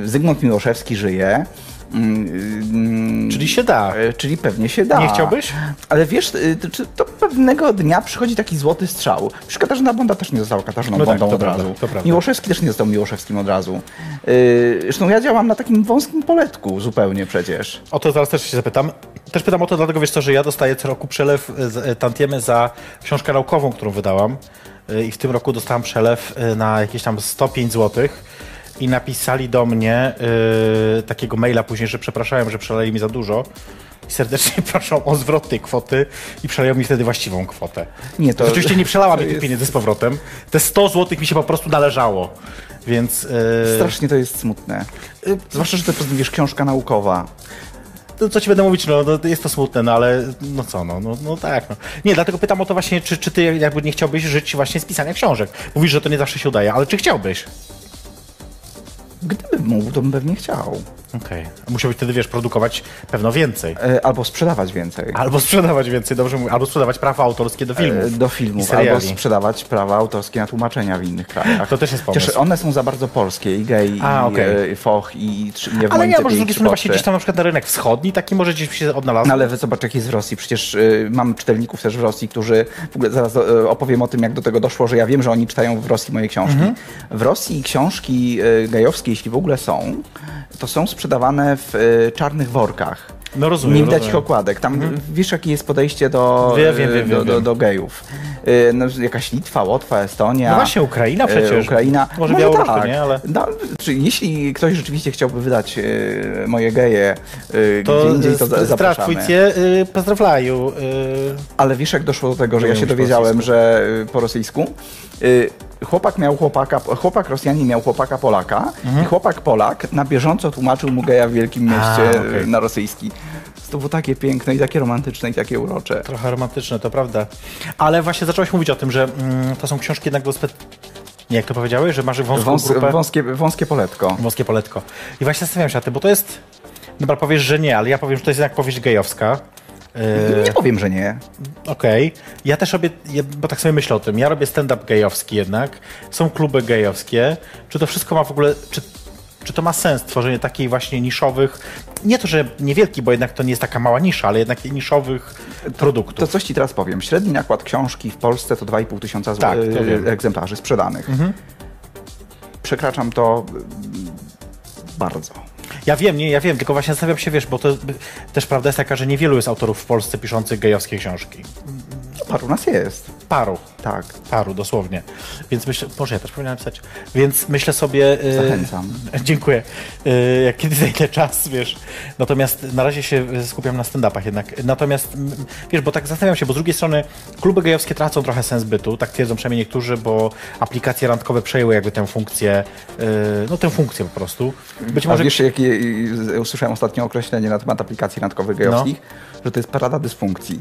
[SPEAKER 3] yy, Zygmunt Miłoszewski żyje. Mm, mm,
[SPEAKER 2] Czyli się da.
[SPEAKER 3] E, Czyli pewnie się da.
[SPEAKER 2] Tak. Nie chciałbyś?
[SPEAKER 3] Ale wiesz, y, to, czy to pewnego dnia przychodzi taki złoty strzał. Przecież Katarzyna Bonda też nie została Katarzyną
[SPEAKER 2] No tak,
[SPEAKER 3] Bondą
[SPEAKER 2] to
[SPEAKER 3] od
[SPEAKER 2] prawda,
[SPEAKER 3] razu.
[SPEAKER 2] to prawda.
[SPEAKER 3] Miłoszewski też nie został Miłoszewskim od razu. Yy, zresztą ja działam na takim wąskim poletku zupełnie przecież.
[SPEAKER 2] O to zaraz też się zapytam. Też pytam o to, dlatego wiesz co, że ja dostaję co roku przelew, y, z- y, tantiemy za książkę naukową, którą wydałam Y, i w tym roku dostałam przelew y, na jakieś tam 105 złotych i napisali do mnie y, takiego maila później, że przepraszają, że przeleli mi za dużo i serdecznie proszą o zwrot tej kwoty i przeleją mi wtedy właściwą kwotę.
[SPEAKER 3] Nie, to-
[SPEAKER 2] Oczywiście nie przelałam mi
[SPEAKER 3] to
[SPEAKER 2] tych
[SPEAKER 3] jest-
[SPEAKER 2] pieniędzy z powrotem. Te 100 złotych mi się po prostu należało. Więc y,
[SPEAKER 3] Strasznie to jest smutne. Zwłaszcza, że to jest, wiesz, książka naukowa.
[SPEAKER 2] No, co ci będę mówić, no, no jest to smutne, no ale no co, no, no, no tak. No. Nie, dlatego pytam o to właśnie, czy, czy ty jakby nie chciałbyś żyć właśnie z pisania książek? Mówisz, że to nie zawsze się udaje, ale czy chciałbyś?
[SPEAKER 3] Gdybym mógł, to bym pewnie chciał.
[SPEAKER 2] Okej. Musiałbyś wtedy, wiesz, produkować pewno więcej.
[SPEAKER 3] E, Albo sprzedawać więcej.
[SPEAKER 2] Albo sprzedawać więcej, dobrze mówię, albo sprzedawać prawa autorskie do
[SPEAKER 3] E,
[SPEAKER 2] filmów.
[SPEAKER 3] Do
[SPEAKER 2] i
[SPEAKER 3] filmów,
[SPEAKER 2] seriali.
[SPEAKER 3] albo sprzedawać prawa autorskie na tłumaczenia w innych krajach.
[SPEAKER 2] To też jest pomysł.
[SPEAKER 3] Chociaż one są za bardzo polskie, i gej,
[SPEAKER 2] A,
[SPEAKER 3] i
[SPEAKER 2] okej.
[SPEAKER 3] e, foch, i trzy- nie w
[SPEAKER 2] Ale nie,
[SPEAKER 3] Mońce,
[SPEAKER 2] może z
[SPEAKER 3] i
[SPEAKER 2] drugiej strony
[SPEAKER 3] Trzpotce.
[SPEAKER 2] właśnie gdzieś tam na przykład na rynek wschodni taki może gdzieś się odnalazł.
[SPEAKER 3] No ale wy- zobacz, jak jest w Rosji. Przecież y, mam czytelników też w Rosji, którzy. W ogóle zaraz y, opowiem o tym, jak do tego doszło, że ja wiem, że oni czytają w Rosji moje książki.
[SPEAKER 2] Mhm.
[SPEAKER 3] W Rosji książki y, gejowskie, jeśli w ogóle są, to są sprzedawane w y, czarnych workach.
[SPEAKER 2] No rozumiem,
[SPEAKER 3] Nie widać ich
[SPEAKER 2] rozumiem. Mhm.
[SPEAKER 3] okładek. Tam wiesz, jakie jest podejście do,
[SPEAKER 2] Wiem, wiem,
[SPEAKER 3] y,
[SPEAKER 2] wiem,
[SPEAKER 3] do,
[SPEAKER 2] wiem,
[SPEAKER 3] do,
[SPEAKER 2] wiem.
[SPEAKER 3] do gejów. Y, No, jakaś Litwa, Łotwa, Estonia.
[SPEAKER 2] No właśnie, Ukraina
[SPEAKER 3] y,
[SPEAKER 2] przecież.
[SPEAKER 3] Ukraina.
[SPEAKER 2] Może Białoruś to
[SPEAKER 3] tak.
[SPEAKER 2] nie, ale-
[SPEAKER 3] No, czy jeśli ktoś rzeczywiście chciałby wydać y, moje geje y,
[SPEAKER 2] to
[SPEAKER 3] gdzie indziej, to za-
[SPEAKER 2] strach
[SPEAKER 3] zapraszamy.
[SPEAKER 2] płycie, y, pozdrawlaju. Y,
[SPEAKER 3] Ale wiesz, jak doszło do tego, że
[SPEAKER 2] Nie
[SPEAKER 3] ja
[SPEAKER 2] wiem,
[SPEAKER 3] się
[SPEAKER 2] czy po
[SPEAKER 3] dowiedziałem, że y, po rosyjsku y, chłopak miał chłopaka, chłopak Rosjanin miał chłopaka Polaka
[SPEAKER 2] Mhm.
[SPEAKER 3] i chłopak Polak na bieżąco tłumaczył mu geja w Wielkim Mieście y,
[SPEAKER 2] okej.
[SPEAKER 3] na rosyjski. To było takie piękne i takie romantyczne i takie urocze.
[SPEAKER 2] Trochę romantyczne, to prawda. Ale właśnie zacząłeś mówić o tym, że mm, to są książki jednak do spe... Nie, jak to powiedziałeś, że masz wąską
[SPEAKER 3] Wąs,
[SPEAKER 2] grupę,
[SPEAKER 3] wąskie, wąskie poletko.
[SPEAKER 2] wąskie poletko. I właśnie zastanawiam się, na tym, bo to jest... Dobra, powiesz, że nie, ale ja powiem, że to jest jednak powieść gejowska. Yy,
[SPEAKER 3] Nie powiem, że nie.
[SPEAKER 2] Okej. Ja też robię, ja, bo tak sobie myślę o tym, ja robię stand-up gejowski jednak, są kluby gejowskie. Czy to wszystko ma w ogóle... Czy, czy to ma sens, tworzenie takiej właśnie niszowych... Nie to, że niewielki, bo jednak to nie jest taka mała nisza, ale jednak niszowych produktów.
[SPEAKER 3] To coś ci teraz powiem. Średni nakład książki w Polsce to 2,5 tysiąca
[SPEAKER 2] Tak,
[SPEAKER 3] zł- y,
[SPEAKER 2] to wiem. Mhm.
[SPEAKER 3] egzemplarzy sprzedanych. Przekraczam to mm, bardzo.
[SPEAKER 2] Ja wiem, nie, ja wiem, tylko właśnie zastanawiam się, wiesz, bo to by- też prawda jest taka, że niewielu jest autorów w Polsce piszących gejowskie książki.
[SPEAKER 3] Paru nas jest.
[SPEAKER 2] paru.
[SPEAKER 3] Tak.
[SPEAKER 2] Paru, dosłownie. Więc myślę, Boże, ja też powinienem pisać. Więc myślę sobie... y,
[SPEAKER 3] Zachęcam.
[SPEAKER 2] Dziękuję. Y, Jak kiedy znajdę czas, wiesz. Natomiast na razie się skupiam na stand-upach jednak. Natomiast, mm, wiesz, bo tak zastanawiam się, bo z drugiej strony kluby gejowskie tracą trochę sens bytu, tak twierdzą przynajmniej niektórzy, bo aplikacje randkowe przejęły jakby tę funkcję, y, no tę funkcję po prostu. Być
[SPEAKER 3] A
[SPEAKER 2] może...
[SPEAKER 3] wiesz, jakie i- i- usłyszałem ostatnio określenie na temat aplikacji randkowych gejowskich?
[SPEAKER 2] No.
[SPEAKER 3] Że to jest parada dysfunkcji.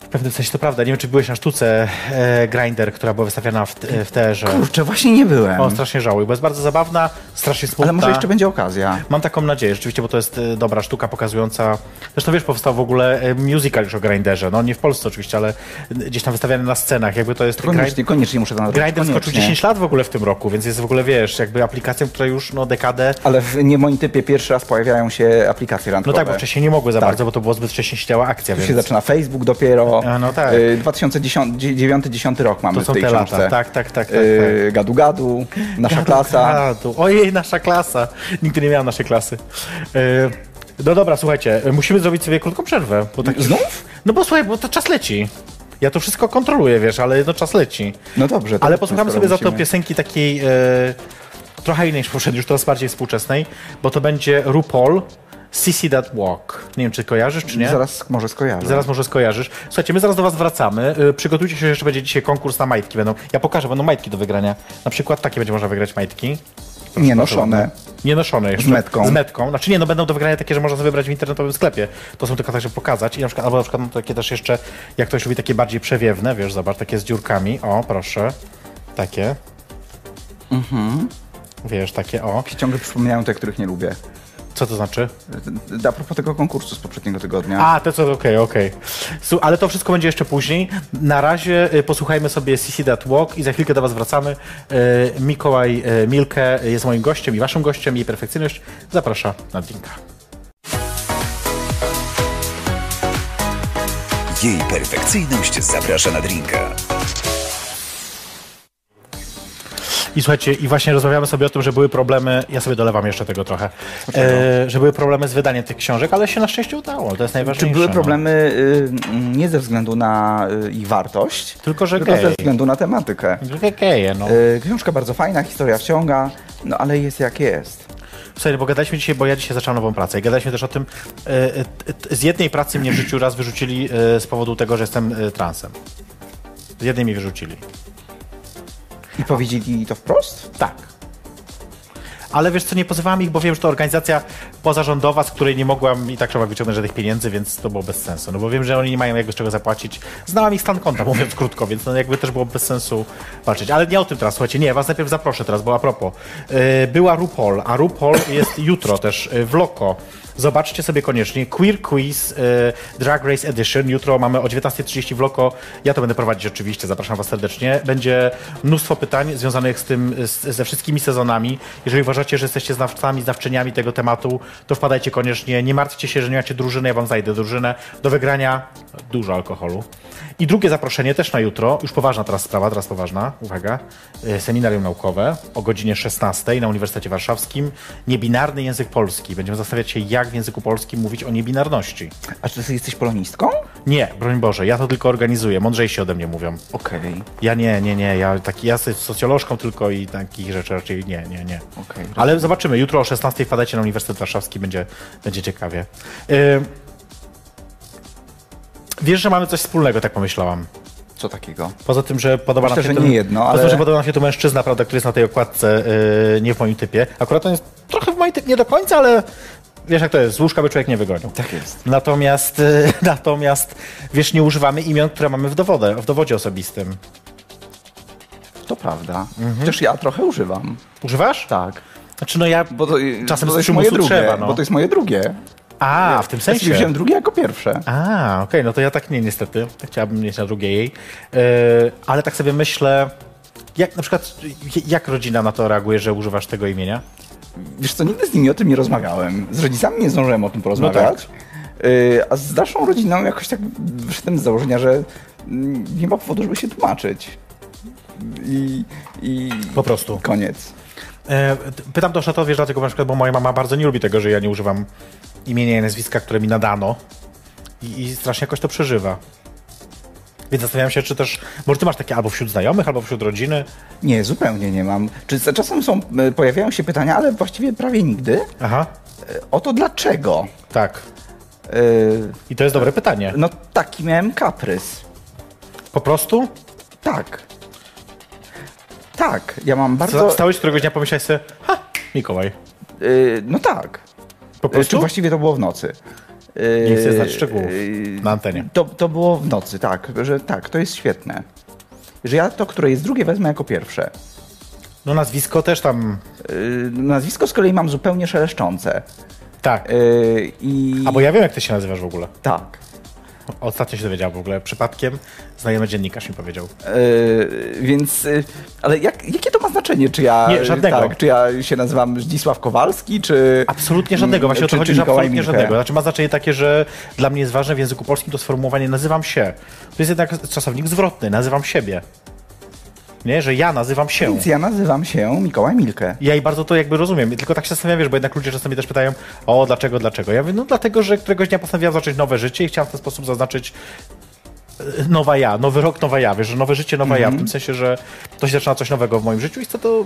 [SPEAKER 2] W pewnym sensie to prawda. Nie wiem, czy byłeś na sztuce e, Grinder, która była wystawiana w, t- w terze.
[SPEAKER 3] Kurczę, właśnie nie byłem.
[SPEAKER 2] O, strasznie żałuję, bo jest bardzo zabawna, strasznie smutna.
[SPEAKER 3] Ale może jeszcze będzie okazja.
[SPEAKER 2] Mam taką nadzieję, rzeczywiście, bo to jest e, dobra sztuka pokazująca. Zresztą wiesz, powstał w ogóle e, musical już o Grinderze. No nie w Polsce oczywiście, ale e, gdzieś tam wystawiany na scenach. Jakby to jest. Grind-
[SPEAKER 3] Koniecznie, koniecznie muszę to nadrobić.
[SPEAKER 2] Grindr skoczył
[SPEAKER 3] koniecznie.
[SPEAKER 2] 10 lat w ogóle w tym roku, więc jest w ogóle, wiesz, jakby aplikacją, która już no dekadę
[SPEAKER 3] Ale w nie moim typie pierwszy raz pojawiają się aplikacje
[SPEAKER 2] No
[SPEAKER 3] randkowe.
[SPEAKER 2] tak, bo wcześniej nie mogły za
[SPEAKER 3] Tak.
[SPEAKER 2] bardzo, bo to było zbyt wcześnie się działa akcja,
[SPEAKER 3] Tu
[SPEAKER 2] więc
[SPEAKER 3] się zaczyna Facebook dopiero. y,
[SPEAKER 2] A, no tak.
[SPEAKER 3] 2009-10 rok mamy
[SPEAKER 2] to są
[SPEAKER 3] w tej
[SPEAKER 2] te
[SPEAKER 3] książce.
[SPEAKER 2] lata. Tak, tak, tak, tak. tak.
[SPEAKER 3] Y, Gadu Gadu, nasza klasa.
[SPEAKER 2] Gadu. Ojej, nasza klasa. Nigdy nie miałam naszej klasy. Yy, no dobra, słuchajcie, musimy zrobić sobie krótką przerwę. Bo tak
[SPEAKER 3] Znów?
[SPEAKER 2] No bo słuchaj, bo to czas leci. Ja to wszystko kontroluję, wiesz, ale no czas leci.
[SPEAKER 3] No dobrze. to
[SPEAKER 2] Ale
[SPEAKER 3] skoro
[SPEAKER 2] posłuchamy sobie za to
[SPEAKER 3] musimy-
[SPEAKER 2] piosenki takiej e, trochę innej niż poprzedniej, już teraz bardziej współczesnej, bo to będzie RuPaul, Sissy That Walk. Nie wiem, czy kojarzysz, czy nie?
[SPEAKER 3] Zaraz może skojarzę.
[SPEAKER 2] Zaraz może skojarzysz. Słuchajcie, my zaraz do was wracamy. Y, Przygotujcie się, że jeszcze będzie dzisiaj konkurs na majtki. Będą, ja pokażę, będą majtki do wygrania. Na przykład takie będzie można wygrać majtki.
[SPEAKER 3] Nie noszone.
[SPEAKER 2] Nie noszone jeszcze.
[SPEAKER 3] Z metką.
[SPEAKER 2] Z metką. Znaczy nie, no będą do wygrania takie, że można sobie wybrać w internetowym sklepie. To są tylko tak, żeby pokazać. I na przykład, albo na przykład no, takie też jeszcze, jak ktoś lubi takie bardziej przewiewne, wiesz, zobacz, takie z dziurkami. O, proszę. Takie. Mhm.
[SPEAKER 3] Mhm.
[SPEAKER 2] Wiesz, takie o.
[SPEAKER 3] Ciągle przypominają te, których nie lubię. Y,
[SPEAKER 2] Co to znaczy?
[SPEAKER 3] A propos tego konkursu z poprzedniego tygodnia.
[SPEAKER 2] A, to co, okej, okej. Su- Ale to wszystko będzie jeszcze później. Na razie y, posłuchajmy sobie CC That Walk i za chwilkę do Was wracamy. Y, Mikołaj y, Milke jest moim gościem i Waszym gościem. Jej perfekcyjność zaprasza na drinka.
[SPEAKER 1] Jej perfekcyjność zaprasza na drinka.
[SPEAKER 2] I słuchajcie, i właśnie rozmawiamy sobie o tym, że były problemy, ja sobie dolewam jeszcze tego trochę, e, że były problemy z wydaniem tych książek, ale się na szczęście udało, to jest
[SPEAKER 3] Czy
[SPEAKER 2] najważniejsze.
[SPEAKER 3] były
[SPEAKER 2] no.
[SPEAKER 3] problemy y, mm, nie ze względu na y, ich wartość,
[SPEAKER 2] Tylko, że
[SPEAKER 3] tylko ze
[SPEAKER 2] gej.
[SPEAKER 3] względu na tematykę?
[SPEAKER 2] Geje, no.
[SPEAKER 3] Y, Książka bardzo fajna, historia wciąga, no ale jest jak jest.
[SPEAKER 2] Słuchaj, bo gadaliśmy dzisiaj, bo ja dzisiaj zacząłem nową pracę i gadaliśmy też o tym, e, e, t- z jednej pracy mnie w życiu raz wyrzucili e, z powodu tego, że jestem e, transem. Z jednej mi wyrzucili.
[SPEAKER 3] I powiedzieli to wprost?
[SPEAKER 2] Tak. Ale wiesz co, nie pozywałam ich, bo wiem, że to organizacja pozarządowa, z której nie mogłam i tak trzeba wyciągnąć żadnych pieniędzy, więc to było bez sensu. No bo wiem, że oni nie mają jakby z czego zapłacić. Znałam ich stan konta, mówiąc krótko, więc no jakby też było bez sensu walczyć. Ale nie o tym teraz, słuchajcie, nie, ja was najpierw zaproszę teraz, bo a propos. Yy, była RuPaul, a RuPaul jest jutro też yy, w Loco. Zobaczcie sobie koniecznie Queer Quiz yy, Drag Race Edition. Jutro mamy o 19.30 w Loco. Ja to będę prowadzić oczywiście, zapraszam was serdecznie. Będzie mnóstwo pytań związanych z tym, z, ze wszystkimi sezonami. Jeżeli uważacie, że jesteście znawcami, znawczyniami tego tematu, to wpadajcie koniecznie. Nie martwcie się, że nie macie drużyny, ja wam zajdę drużynę. Do wygrania dużo alkoholu. I drugie zaproszenie też na jutro, już poważna teraz sprawa, teraz poważna, uwaga, E, seminarium naukowe o godzinie 16 na Uniwersytecie Warszawskim, niebinarny język polski. Będziemy zastanawiać się, jak w języku polskim mówić o niebinarności.
[SPEAKER 3] A czy ty jesteś polonistką?
[SPEAKER 2] Nie, broń Boże, ja to tylko organizuję, mądrzejsi ode mnie mówią.
[SPEAKER 3] Okej,
[SPEAKER 2] Ja nie, nie, nie. Ja, taki, ja jestem socjolożką tylko i takich rzeczy raczej nie, nie, nie.
[SPEAKER 3] Okej.
[SPEAKER 2] Ale zobaczymy. Jutro o 16 wpadacie na Uniwersytet Warszawski, będzie, będzie ciekawie. Ym, wiesz, że mamy coś wspólnego, tak pomyślałam.
[SPEAKER 3] co takiego?
[SPEAKER 2] Poza tym, że podoba
[SPEAKER 3] Myślę,
[SPEAKER 2] nam się
[SPEAKER 3] że
[SPEAKER 2] tu-
[SPEAKER 3] nie jedno,
[SPEAKER 2] poza
[SPEAKER 3] ale-
[SPEAKER 2] tym, że podoba nam się tu mężczyzna, prawda, który jest na tej okładce, yy, nie w moim typie. Akurat on jest trochę w moim typie, nie do końca, ale wiesz jak to jest, z łóżka by człowiek nie wygonił.
[SPEAKER 3] Tak jest.
[SPEAKER 2] Natomiast, yy, natomiast wiesz, nie używamy imion, które mamy w, dowodę, w dowodzie osobistym.
[SPEAKER 3] To prawda. Chociaż ja trochę używam.
[SPEAKER 2] Używasz?
[SPEAKER 3] Tak.
[SPEAKER 2] Znaczy no ja
[SPEAKER 3] Bo to,
[SPEAKER 2] czasem
[SPEAKER 3] bo
[SPEAKER 2] z
[SPEAKER 3] to jest moje
[SPEAKER 2] przymusu
[SPEAKER 3] drugie.
[SPEAKER 2] trzeba, no.
[SPEAKER 3] Bo to jest moje drugie.
[SPEAKER 2] A, w tym sensie.
[SPEAKER 3] Ja wziąłem drugie jako pierwsze.
[SPEAKER 2] A, okej, no to ja tak nie niestety. Chciałabym mieć na drugiej jej. Yy, ale tak sobie myślę, jak na przykład, j- jak rodzina na to reaguje, że używasz tego imienia?
[SPEAKER 3] Wiesz co, nigdy z nimi o tym nie rozmawiałem. Z rodzicami nie zdążyłem o tym porozmawiać. Y, A z naszą rodziną jakoś tak wyszedłem z założenia, że mm, nie ma powodu, żeby się tłumaczyć. I, i
[SPEAKER 2] Po prostu.
[SPEAKER 3] koniec.
[SPEAKER 2] E, t- Pytam to o szatowie, dlatego na przykład, bo moja mama bardzo nie lubi tego, że ja nie używam imienia i nazwiska, które mi nadano. I, i strasznie jakoś to przeżywa. Więc zastanawiam się, czy też, może ty masz takie albo wśród znajomych, albo wśród rodziny.
[SPEAKER 3] Nie, zupełnie nie mam. Czy za- czasem są, y, pojawiają się pytania, ale właściwie prawie nigdy,
[SPEAKER 2] Aha,
[SPEAKER 3] o to dlaczego.
[SPEAKER 2] tak.
[SPEAKER 3] Yy,
[SPEAKER 2] I to jest dobre pytanie.
[SPEAKER 3] No taki miałem kaprys.
[SPEAKER 2] Po prostu
[SPEAKER 3] Tak. Tak, ja mam
[SPEAKER 2] Sta-
[SPEAKER 3] bardzo...
[SPEAKER 2] stałeś któregoś dnia, pomyślałeś sobie, ha, Mikołaj.
[SPEAKER 3] Yy, no tak.
[SPEAKER 2] Po
[SPEAKER 3] Yy, Czy
[SPEAKER 2] prostu?
[SPEAKER 3] właściwie to było w nocy. Yy,
[SPEAKER 2] Nie chcę znać szczegółów
[SPEAKER 3] yy,
[SPEAKER 2] na antenie.
[SPEAKER 3] To, to było w nocy, tak. Że tak, to jest świetne. Że ja to, które jest drugie, wezmę jako pierwsze.
[SPEAKER 2] No nazwisko też tam,
[SPEAKER 3] Yy, nazwisko z kolei mam zupełnie szeleszczące.
[SPEAKER 2] tak.
[SPEAKER 3] Yy, I...
[SPEAKER 2] A bo ja wiem, jak ty się nazywasz w ogóle.
[SPEAKER 3] Tak.
[SPEAKER 2] Ostatnio się dowiedziałem w ogóle, przypadkiem znajomy dziennikarz mi powiedział.
[SPEAKER 3] Yy, więc, yy, ale jak, jakie to ma znaczenie, czy ja,
[SPEAKER 2] Nie, żadnego.
[SPEAKER 3] Tak, czy ja się nazywam Zdzisław Kowalski, czy...
[SPEAKER 2] Absolutnie żadnego, właśnie o
[SPEAKER 3] czy-
[SPEAKER 2] to chodzi,
[SPEAKER 3] czy
[SPEAKER 2] że
[SPEAKER 3] Mikołaj
[SPEAKER 2] absolutnie
[SPEAKER 3] Michę?
[SPEAKER 2] żadnego. Znaczy ma znaczenie takie, że dla mnie jest ważne w języku polskim to sformułowanie nazywam się. To jest jednak czasownik zwrotny, nazywam siebie. Nie, że ja nazywam się.
[SPEAKER 3] Więc ja nazywam się Mikołaj Milkę.
[SPEAKER 2] Ja i bardzo to jakby rozumiem, tylko tak się zastanawiam, wiesz, bo jednak ludzie czasami też pytają, o dlaczego, dlaczego? Ja mówię, no dlatego, że któregoś dnia postanowiłam zacząć nowe życie i chciałam w ten sposób zaznaczyć e, nowa ja, nowy rok, nowa ja, wiesz, że nowe życie, nowa
[SPEAKER 3] Mhm.
[SPEAKER 2] ja, w tym sensie, że to się zaczyna coś nowego w moim życiu i chcę to...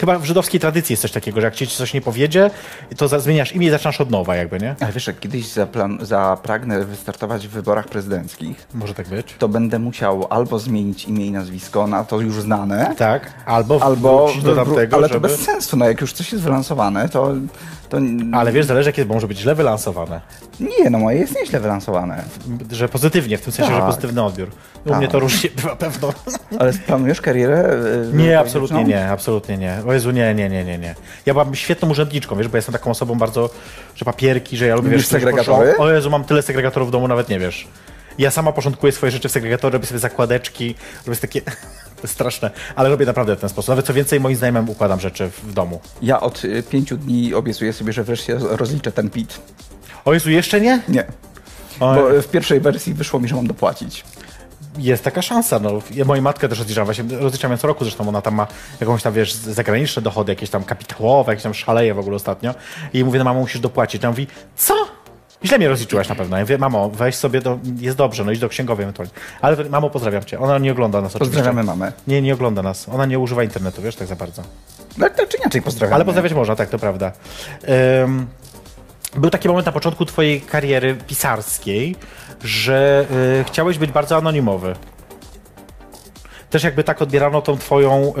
[SPEAKER 2] Chyba w żydowskiej tradycji jest coś takiego, że jak ci coś nie powiedzie, to za- zmieniasz imię i zaczynasz od nowa jakby, nie?
[SPEAKER 3] Ale wiesz, jak kiedyś zaplan- zapragnę wystartować w wyborach prezydenckich,
[SPEAKER 2] Może tak być.
[SPEAKER 3] to będę musiał albo zmienić imię i nazwisko na to już znane,
[SPEAKER 2] Tak, albo,
[SPEAKER 3] albo...
[SPEAKER 2] albo do
[SPEAKER 3] wywró-
[SPEAKER 2] tamtego,
[SPEAKER 3] ale
[SPEAKER 2] żeby...
[SPEAKER 3] to bez sensu, no jak już coś jest wylansowane, to... to...
[SPEAKER 2] Ale wiesz, zależy, jakie może być źle wylansowane.
[SPEAKER 3] Nie, no moje jest nieźle wylansowane.
[SPEAKER 2] Że pozytywnie, w tym sensie, że
[SPEAKER 3] Tak.
[SPEAKER 2] pozytywny odbiór. U mnie to
[SPEAKER 3] Tak.
[SPEAKER 2] różnie bywa pewno.
[SPEAKER 3] Ale planujesz karierę? y,
[SPEAKER 2] Nie, absolutnie
[SPEAKER 3] polityczną?
[SPEAKER 2] nie, absolutnie nie. O Jezu, nie, nie, nie, nie, nie. Ja byłabym świetną urzędniczą, wiesz, bo ja jestem taką osobą bardzo, że papierki, że ja lubię...
[SPEAKER 3] Lubisz
[SPEAKER 2] wiesz, które się
[SPEAKER 3] segregatory?
[SPEAKER 2] poszło- O Jezu, mam tyle segregatorów w domu, nawet nie wiesz. Ja sama porządkuję swoje rzeczy w segregatory, robię sobie zakładeczki, robię sobie takie... To jest straszne, ale robię naprawdę w ten sposób. Nawet co więcej, moim znajomym układam rzeczy w domu.
[SPEAKER 3] Ja od y, pięciu dni obiecuję sobie, że wreszcie rozliczę ten PIT.
[SPEAKER 2] O Jezu, jeszcze nie?
[SPEAKER 3] Nie.
[SPEAKER 2] O,
[SPEAKER 3] Bo y, w pierwszej wersji wyszło mi, że mam dopłacić.
[SPEAKER 2] Jest taka szansa. No. Ja moją matkę też rozliczam, właśnie rozliczam ją co roku, zresztą ona tam ma jakąś tam, wiesz, zagraniczne dochody, jakieś tam kapitałowe, jakieś tam szaleje w ogóle ostatnio. I mówię, no mamo, musisz dopłacić. Ona mówi, co? Źle mnie rozliczyłaś na pewno. Ja mówię, mamo, weź sobie, do, jest dobrze, no idź do księgowej ewentualnie. Ale to- mamo, pozdrawiam cię. Ona nie ogląda nas oczywiście.
[SPEAKER 3] Pozdrawiamy mamę.
[SPEAKER 2] Nie, nie ogląda nas. Ona nie używa internetu, wiesz, tak za bardzo.
[SPEAKER 3] Tak, tak czy inaczej pozdrawiam.
[SPEAKER 2] Ale pozdrawiać można, tak, to prawda. Ym, był taki moment na początku twojej kariery pisarskiej, że y, chciałeś być bardzo anonimowy. Też jakby tak odbierano tą twoją,